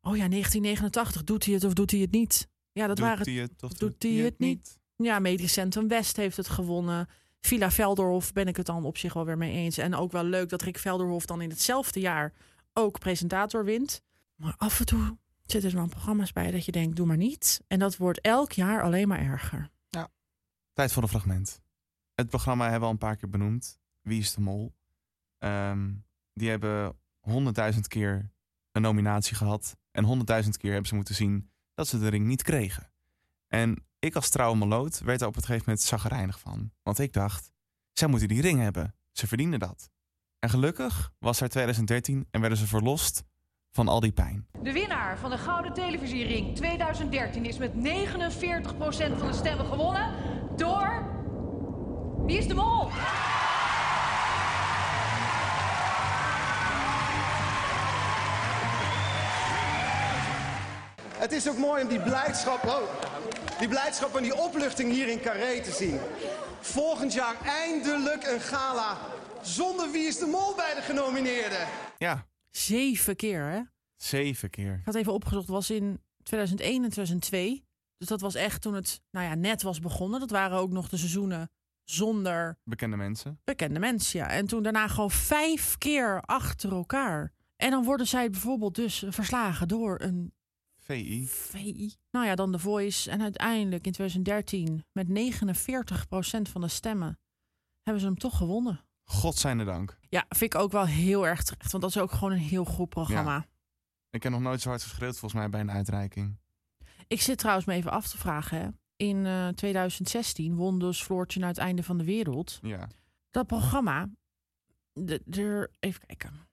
Speaker 2: oh ja, 1989, doet hij het of doet hij het niet? Ja, dat
Speaker 1: Doet
Speaker 2: waren
Speaker 1: hij het of
Speaker 2: doet hij het niet? Ja, Medisch Centrum West heeft het gewonnen. Villa Veldorhof ben ik het dan op zich wel weer mee eens. En ook wel leuk dat Rick Velderhof dan in hetzelfde jaar ook presentator wint. Maar af en toe zitten er dan programma's bij dat je denkt, doe maar niet. En dat wordt elk jaar alleen maar erger.
Speaker 1: Tijd voor een fragment. Het programma hebben we al een paar keer benoemd. Wie is de mol? Ehm, die hebben honderdduizend keer een nominatie gehad. En honderdduizend keer hebben ze moeten zien dat ze de ring niet kregen. En ik als trouwe meloot werd daar op het gegeven moment zagrijnig van. Want ik dacht, zij moeten die ring hebben. Ze verdienen dat. En gelukkig was er 2013 en werden ze verlost van al die pijn.
Speaker 16: De winnaar van de Gouden Televisiering 2013 is met 49% van de stemmen gewonnen door. Wie is de mol?
Speaker 17: Het is ook mooi om die blijdschap, oh, die blijdschap en die opluchting hier in Carré te zien. Volgend jaar eindelijk een gala zonder Wie is de Mol bij de genomineerden.
Speaker 1: Ja,
Speaker 2: Zeven keer, hè?
Speaker 1: zeven keer.
Speaker 2: Ik had even opgezocht, was in 2001 en 2002. Dus dat was echt toen het, nou ja, net was begonnen. Dat waren ook nog de seizoenen zonder
Speaker 1: Bekende mensen.
Speaker 2: bekende mensen, ja. En toen daarna gewoon vijf keer achter elkaar. En dan worden zij bijvoorbeeld dus verslagen door een
Speaker 1: VI.
Speaker 2: VI. Nou ja, dan The Voice. En uiteindelijk in 2013 met 49% van de stemmen hebben ze hem toch gewonnen.
Speaker 1: Godzijne dank.
Speaker 2: Ja, vind ik ook wel heel erg terecht. Want dat is ook gewoon een heel goed programma.
Speaker 1: Ja. Ik heb nog nooit zo hard geschreeuwd volgens mij bij een uitreiking.
Speaker 2: Ik zit trouwens me even af te vragen. Hè. In eh, 2016 won dus Floortje naar het einde van de wereld.
Speaker 1: Ja.
Speaker 2: Dat programma, de, er- even kijken.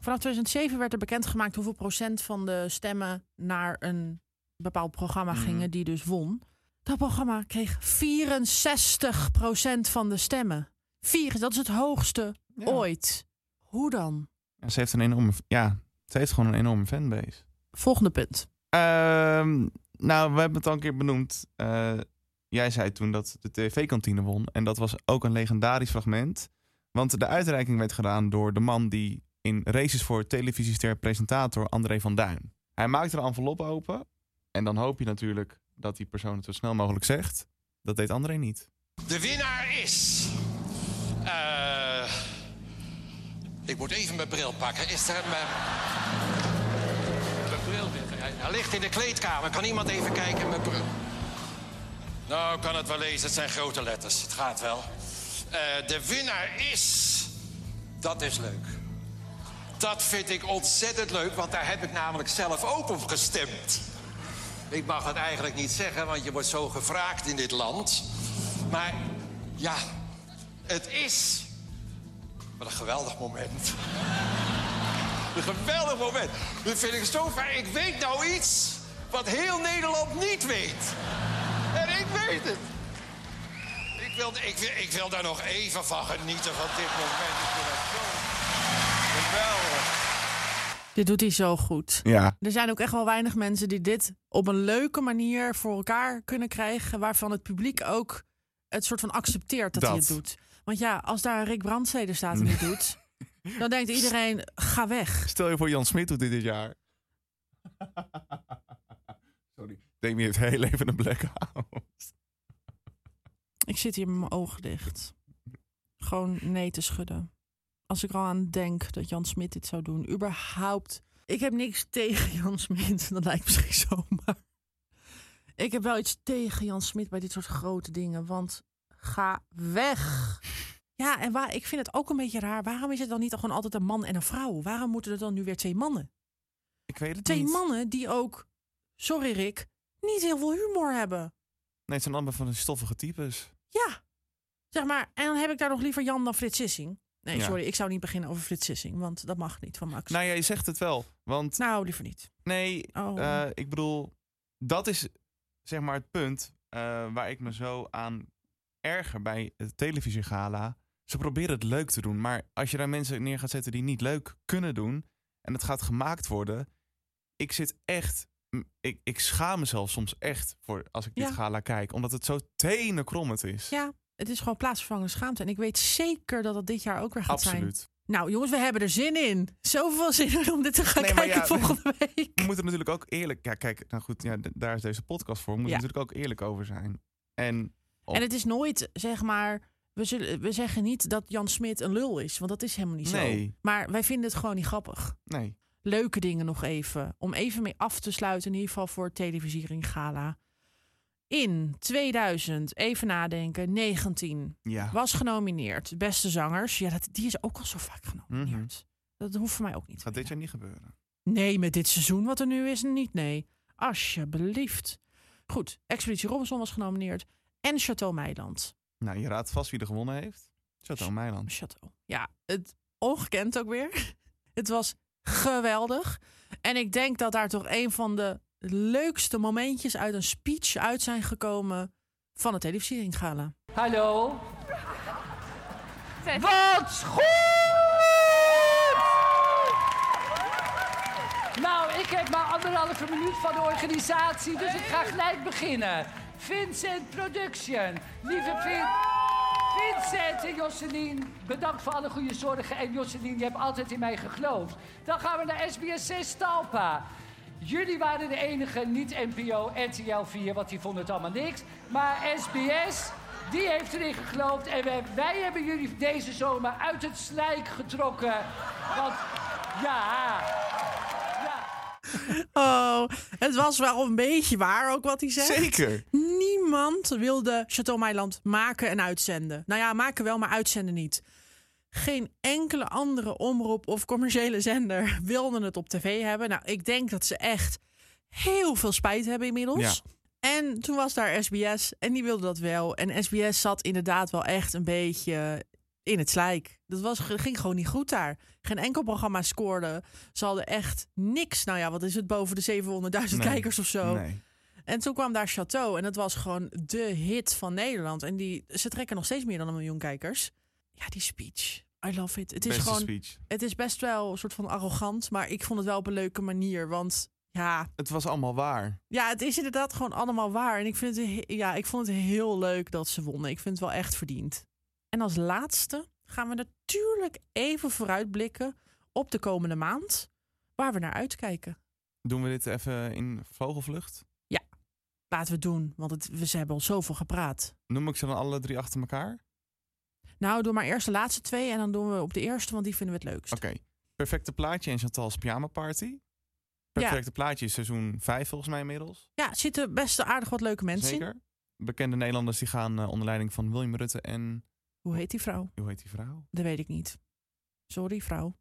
Speaker 2: Vanaf 2007 werd er bekendgemaakt hoeveel procent van de stemmen naar een bepaald programma gingen, die dus won. Dat programma kreeg 64 procent van de stemmen. Vier, dat is het hoogste ooit. Hoe dan?
Speaker 1: Ja, ze heeft een enorme. Ja, ze heeft gewoon een enorme fanbase.
Speaker 2: Volgende punt.
Speaker 1: nou, we hebben het al een keer benoemd. Eh, jij zei toen dat de tv-kantine won. En dat was ook een legendarisch fragment. Want de uitreiking werd gedaan door de man die in Races voor televisiester presentator André van Duin. Hij maakte de envelop open. En dan hoop je natuurlijk dat die persoon het zo snel mogelijk zegt. Dat deed André niet.
Speaker 6: De winnaar is. eh, Ik moet even mijn bril pakken. Is er mijn... Mijn bril ligt er. Hij- Hij ligt in de kleedkamer. Kan iemand even kijken? Mijn bril. Nou, ik kan het wel lezen. Het zijn grote letters. Het gaat wel. Eh, de winnaar is... Dat is leuk. Dat vind ik ontzettend leuk, want daar heb ik namelijk zelf ook op gestemd. Ik mag dat eigenlijk niet zeggen, want je wordt zo gevraagd in dit land. Maar ja, het is. Wat een geweldig moment. Een geweldig moment. Dat vind ik zo fijn. Ik weet nou iets wat heel Nederland niet weet. En ik weet het. Ik wil, ik, wil- ik wil daar nog even van genieten van dit moment. Ik vind dat zo geweldig.
Speaker 2: Dit doet hij zo goed.
Speaker 1: Ja.
Speaker 2: Er zijn ook echt wel weinig mensen die dit op een leuke manier voor elkaar kunnen krijgen. Waarvan het publiek ook het soort van accepteert dat, hij
Speaker 1: Dat.
Speaker 2: het doet. Want ja, als daar een Rick Brandstede staat en het doet, dan denkt iedereen: ga weg.
Speaker 1: Stel je voor, Jan Smit doet dit dit jaar. Sorry. Demi heeft heel even een blackout.
Speaker 2: Ik zit hier met mijn ogen dicht. Gewoon nee te schudden. Als ik er al aan denk dat Jan Smit dit zou doen. Überhaupt. Ik heb niks tegen Jan Smit. Dat lijkt misschien zo, maar... Ik heb wel iets tegen Jan Smit bij dit soort grote dingen. Want ga weg. Ja, en waar, ik vind het ook een beetje raar. Waarom is het dan niet gewoon altijd een man en een vrouw? Waarom moeten er dan nu weer twee mannen?
Speaker 1: Ik weet het
Speaker 2: Twee
Speaker 1: niet.
Speaker 2: mannen die ook, sorry Rick, niet heel veel humor hebben.
Speaker 1: Nee, het zijn allemaal van die stoffige types.
Speaker 2: Ja. Zeg maar, en dan heb ik daar nog liever Jan dan Frits Sissing. Nee,
Speaker 1: Ja.
Speaker 2: sorry, ik zou niet beginnen over Frits Sissing, want dat mag niet van Max.
Speaker 1: Nou, jij zegt het wel. Want...
Speaker 2: Nou, liever niet.
Speaker 1: Nee,
Speaker 2: Oh.
Speaker 1: eh, ik bedoel, dat is zeg maar het punt eh, waar ik me zo aan erger bij het televisiegala. Ze proberen het leuk te doen, maar als je daar mensen neer gaat zetten die niet leuk kunnen doen en het gaat gemaakt worden, ik zit echt, m- ik, ik schaam mezelf soms echt voor als ik
Speaker 2: Ja.
Speaker 1: dit gala kijk, omdat het zo tenenkrommend is.
Speaker 2: Ja, het is gewoon plaatsvervangende schaamte. En ik weet zeker dat dat dit jaar ook weer gaat
Speaker 1: Absoluut.
Speaker 2: zijn. Nou, jongens, we hebben er zin in. Zoveel zin in om dit te gaan
Speaker 1: Nee, maar
Speaker 2: kijken volgende week.
Speaker 1: We moeten natuurlijk ook eerlijk, ja kijk, nou goed, ja, d- daar is deze podcast voor. We moeten
Speaker 2: Ja.
Speaker 1: natuurlijk ook eerlijk over zijn. En,
Speaker 2: En het is nooit, zeg maar, we, zullen, we zeggen niet dat Jan Smit een lul is, want dat is helemaal niet zo.
Speaker 1: Nee.
Speaker 2: Maar wij vinden het gewoon niet grappig.
Speaker 1: nee.
Speaker 2: leuke dingen nog even. Om even mee af te sluiten, in ieder geval voor het televisiering gala. In 2000, even nadenken, 19.
Speaker 1: Ja.
Speaker 2: Was genomineerd. Beste zangers. Ja, dat, die is ook al zo vaak genomen.
Speaker 1: Mhm.
Speaker 2: Dat hoeft voor mij ook niet.
Speaker 1: Gaat dit jaar niet gebeuren.
Speaker 2: Nee, met dit seizoen wat er nu is, niet nee. Alsjeblieft. Goed, Expeditie Robinson was genomineerd. En Chateau Meiland.
Speaker 1: Nou, je raadt vast wie er gewonnen heeft. Chateau Meiland.
Speaker 2: Chateau. Ja, het ongekend ook weer. Het was geweldig. En ik denk dat daar toch een van de leukste momentjes uit een speech uit zijn gekomen van het televisieringala.
Speaker 4: Hallo? Wat goed! Nou, ik heb maar anderhalve minuut van de organisatie, dus ik ga gelijk beginnen. Vincent Production. Lieve Vin Vincent en Josselien, bedankt voor alle goede zorgen. En Josselien, je hebt altijd in mij geloofd. Dan gaan we naar SBS6 Talpa. Jullie waren de enige niet-NPO RTL 4, want die vonden het allemaal niks. Maar SBS, die heeft erin geloofd. En we- wij hebben jullie deze zomer uit het slijk getrokken. Want ja,
Speaker 2: Oh, het was wel een beetje waar ook wat hij zei.
Speaker 1: Zeker.
Speaker 2: Niemand wilde Chateau Meiland maken en uitzenden. Nou ja, maken wel, maar uitzenden niet. Geen enkele andere omroep of commerciële zender wilde het op tv hebben. Nou, ik denk dat ze echt heel veel spijt hebben inmiddels. En toen was daar SBS en die wilde dat wel. En SBS zat inderdaad wel echt een beetje in het slijk. Dat was, ging gewoon niet goed daar. Geen enkel programma scoorde. Ze hadden echt niks. Nou ja, wat is het? Boven de 700.000
Speaker 1: Nee.
Speaker 2: kijkers of zo.
Speaker 1: Nee.
Speaker 2: En toen kwam daar Chateau en dat was gewoon de hit van Nederland. En die, ze trekken nog steeds meer dan een miljoen kijkers. Ja, die speech. I love it. Het is
Speaker 1: Beste
Speaker 2: gewoon.
Speaker 1: speech.
Speaker 2: Het is best wel een soort van arrogant, maar ik vond het wel op een leuke manier. Want ja,
Speaker 1: Het was allemaal waar.
Speaker 2: ja, het is inderdaad gewoon allemaal waar. En ik, vind het, he- ja, ik vond het heel leuk dat ze wonnen. Ik vind het wel echt verdiend. En als laatste gaan we natuurlijk even vooruitblikken op de komende maand. Waar we naar uitkijken.
Speaker 1: Doen we dit even in vogelvlucht?
Speaker 2: Ja, laten we het doen. Want het, we, ze hebben al zoveel gepraat.
Speaker 1: Noem ik ze dan alle drie achter elkaar?
Speaker 2: Nou, doe maar eerst de laatste twee en dan doen we op de eerste, want die vinden we het leukst.
Speaker 1: Oké. Perfecte plaatje en Chantal's Pyjama Party. Perfecte plaatje is seizoen 5 volgens mij inmiddels.
Speaker 2: Ja, er zitten best aardig wat leuke mensen in.
Speaker 1: Zeker. Bekende Nederlanders die gaan eh, onder leiding van William Rutte en...
Speaker 2: Hoe heet die vrouw?
Speaker 1: Hoe heet die vrouw?
Speaker 2: Dat weet ik niet. Sorry, vrouw.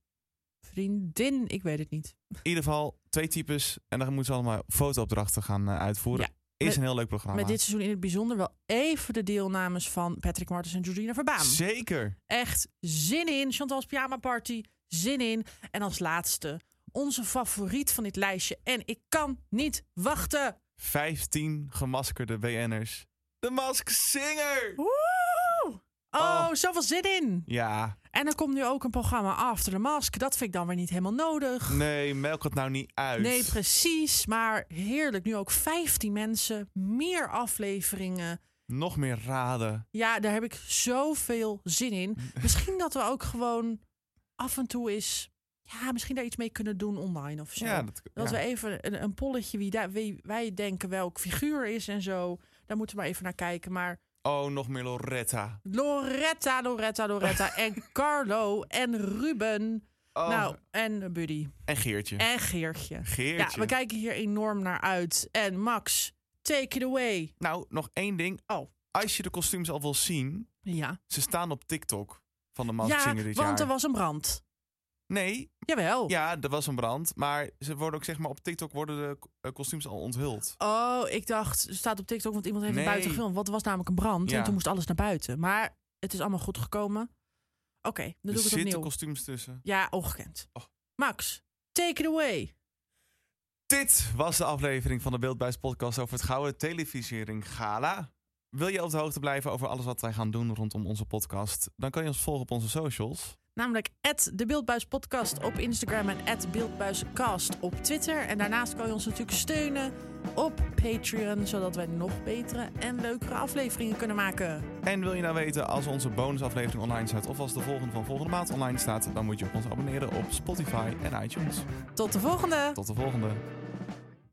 Speaker 2: Vriendin, ik weet het niet.
Speaker 1: In ieder geval twee types. En dan moeten ze allemaal fotoopdrachten gaan eh, uitvoeren. is
Speaker 2: met-
Speaker 1: een heel leuk programma.
Speaker 2: Met dit seizoen in het bijzonder wel even de deelnames van Patrick Martens en Georgina Verbaan.
Speaker 1: Zeker.
Speaker 2: Echt zin in. Chantal's Pyjama Party, zin in. En als laatste, onze favoriet van dit lijstje. En ik kan niet wachten.
Speaker 1: 15 gemaskerde BN'ers. De Mask Singer!
Speaker 2: Woe! Oh, zoveel zin in.
Speaker 1: Ja.
Speaker 2: En er komt nu ook een programma After the Mask. Dat vind ik dan weer niet helemaal nodig.
Speaker 1: Nee, melk het nou niet uit.
Speaker 2: Nee, precies. Maar heerlijk. Nu ook 15 mensen, meer afleveringen.
Speaker 1: Nog meer raden.
Speaker 2: Ja, daar heb ik zoveel zin in. Misschien dat we ook gewoon af en toe eens. Ja, misschien daar iets mee kunnen doen online of zo.
Speaker 1: Ja, dat- ja.
Speaker 2: we even een, een polletje wie, daar, wie wij denken welk figuur is en zo. Daar moeten we maar even naar kijken. Maar
Speaker 1: Oh, nog meer Loretta.
Speaker 2: Loretta, Loretta, Loretta en Carlo en Ruben.
Speaker 1: Oh.
Speaker 2: Nou, en Buddy.
Speaker 1: En Geertje.
Speaker 2: En Geertje.
Speaker 1: Geertje.
Speaker 2: Ja, we kijken hier enorm naar uit. En Max, take it away.
Speaker 1: Nou, nog één ding.
Speaker 2: Oh.
Speaker 1: Als je de kostuums al wil zien,
Speaker 2: Ja.
Speaker 1: ze staan op TikTok van de Masked
Speaker 2: Ja,
Speaker 1: Singer dit jaar.
Speaker 2: want er was een brand.
Speaker 1: Nee.
Speaker 2: Jawel.
Speaker 1: Ja, er was een brand. Maar ze worden ook, zeg maar, op TikTok worden de eh, kostuums al onthuld.
Speaker 2: Oh, ik dacht, ze staat op TikTok, want iemand heeft
Speaker 1: Nee.
Speaker 2: het buiten gefilmd. Want er was namelijk een brand
Speaker 1: Ja.
Speaker 2: en toen moest alles naar buiten. Maar het is allemaal goed gekomen. Oké, dan
Speaker 1: er
Speaker 2: doe ik het
Speaker 1: zitten
Speaker 2: opnieuw.
Speaker 1: kostuums tussen.
Speaker 2: Ja, ongekend.
Speaker 1: Oh.
Speaker 2: Max, take it away.
Speaker 1: Dit was de aflevering van de Beeldbuis podcast over het Gouden Televisiering Gala. Wil je op de hoogte blijven over alles wat wij gaan doen rondom onze podcast? Dan kan je ons volgen op onze socials.
Speaker 2: Namelijk at de Beeldbuis Podcast op Instagram en at Beeldbuiscast op Twitter. En daarnaast kan je ons natuurlijk steunen op Patreon, zodat wij nog betere en leukere afleveringen kunnen maken.
Speaker 1: En wil je nou weten als onze bonusaflevering online staat of als de volgende van volgende maand online staat, dan moet je op ons abonneren op Spotify en iTunes.
Speaker 2: Tot de volgende!
Speaker 1: Tot de volgende.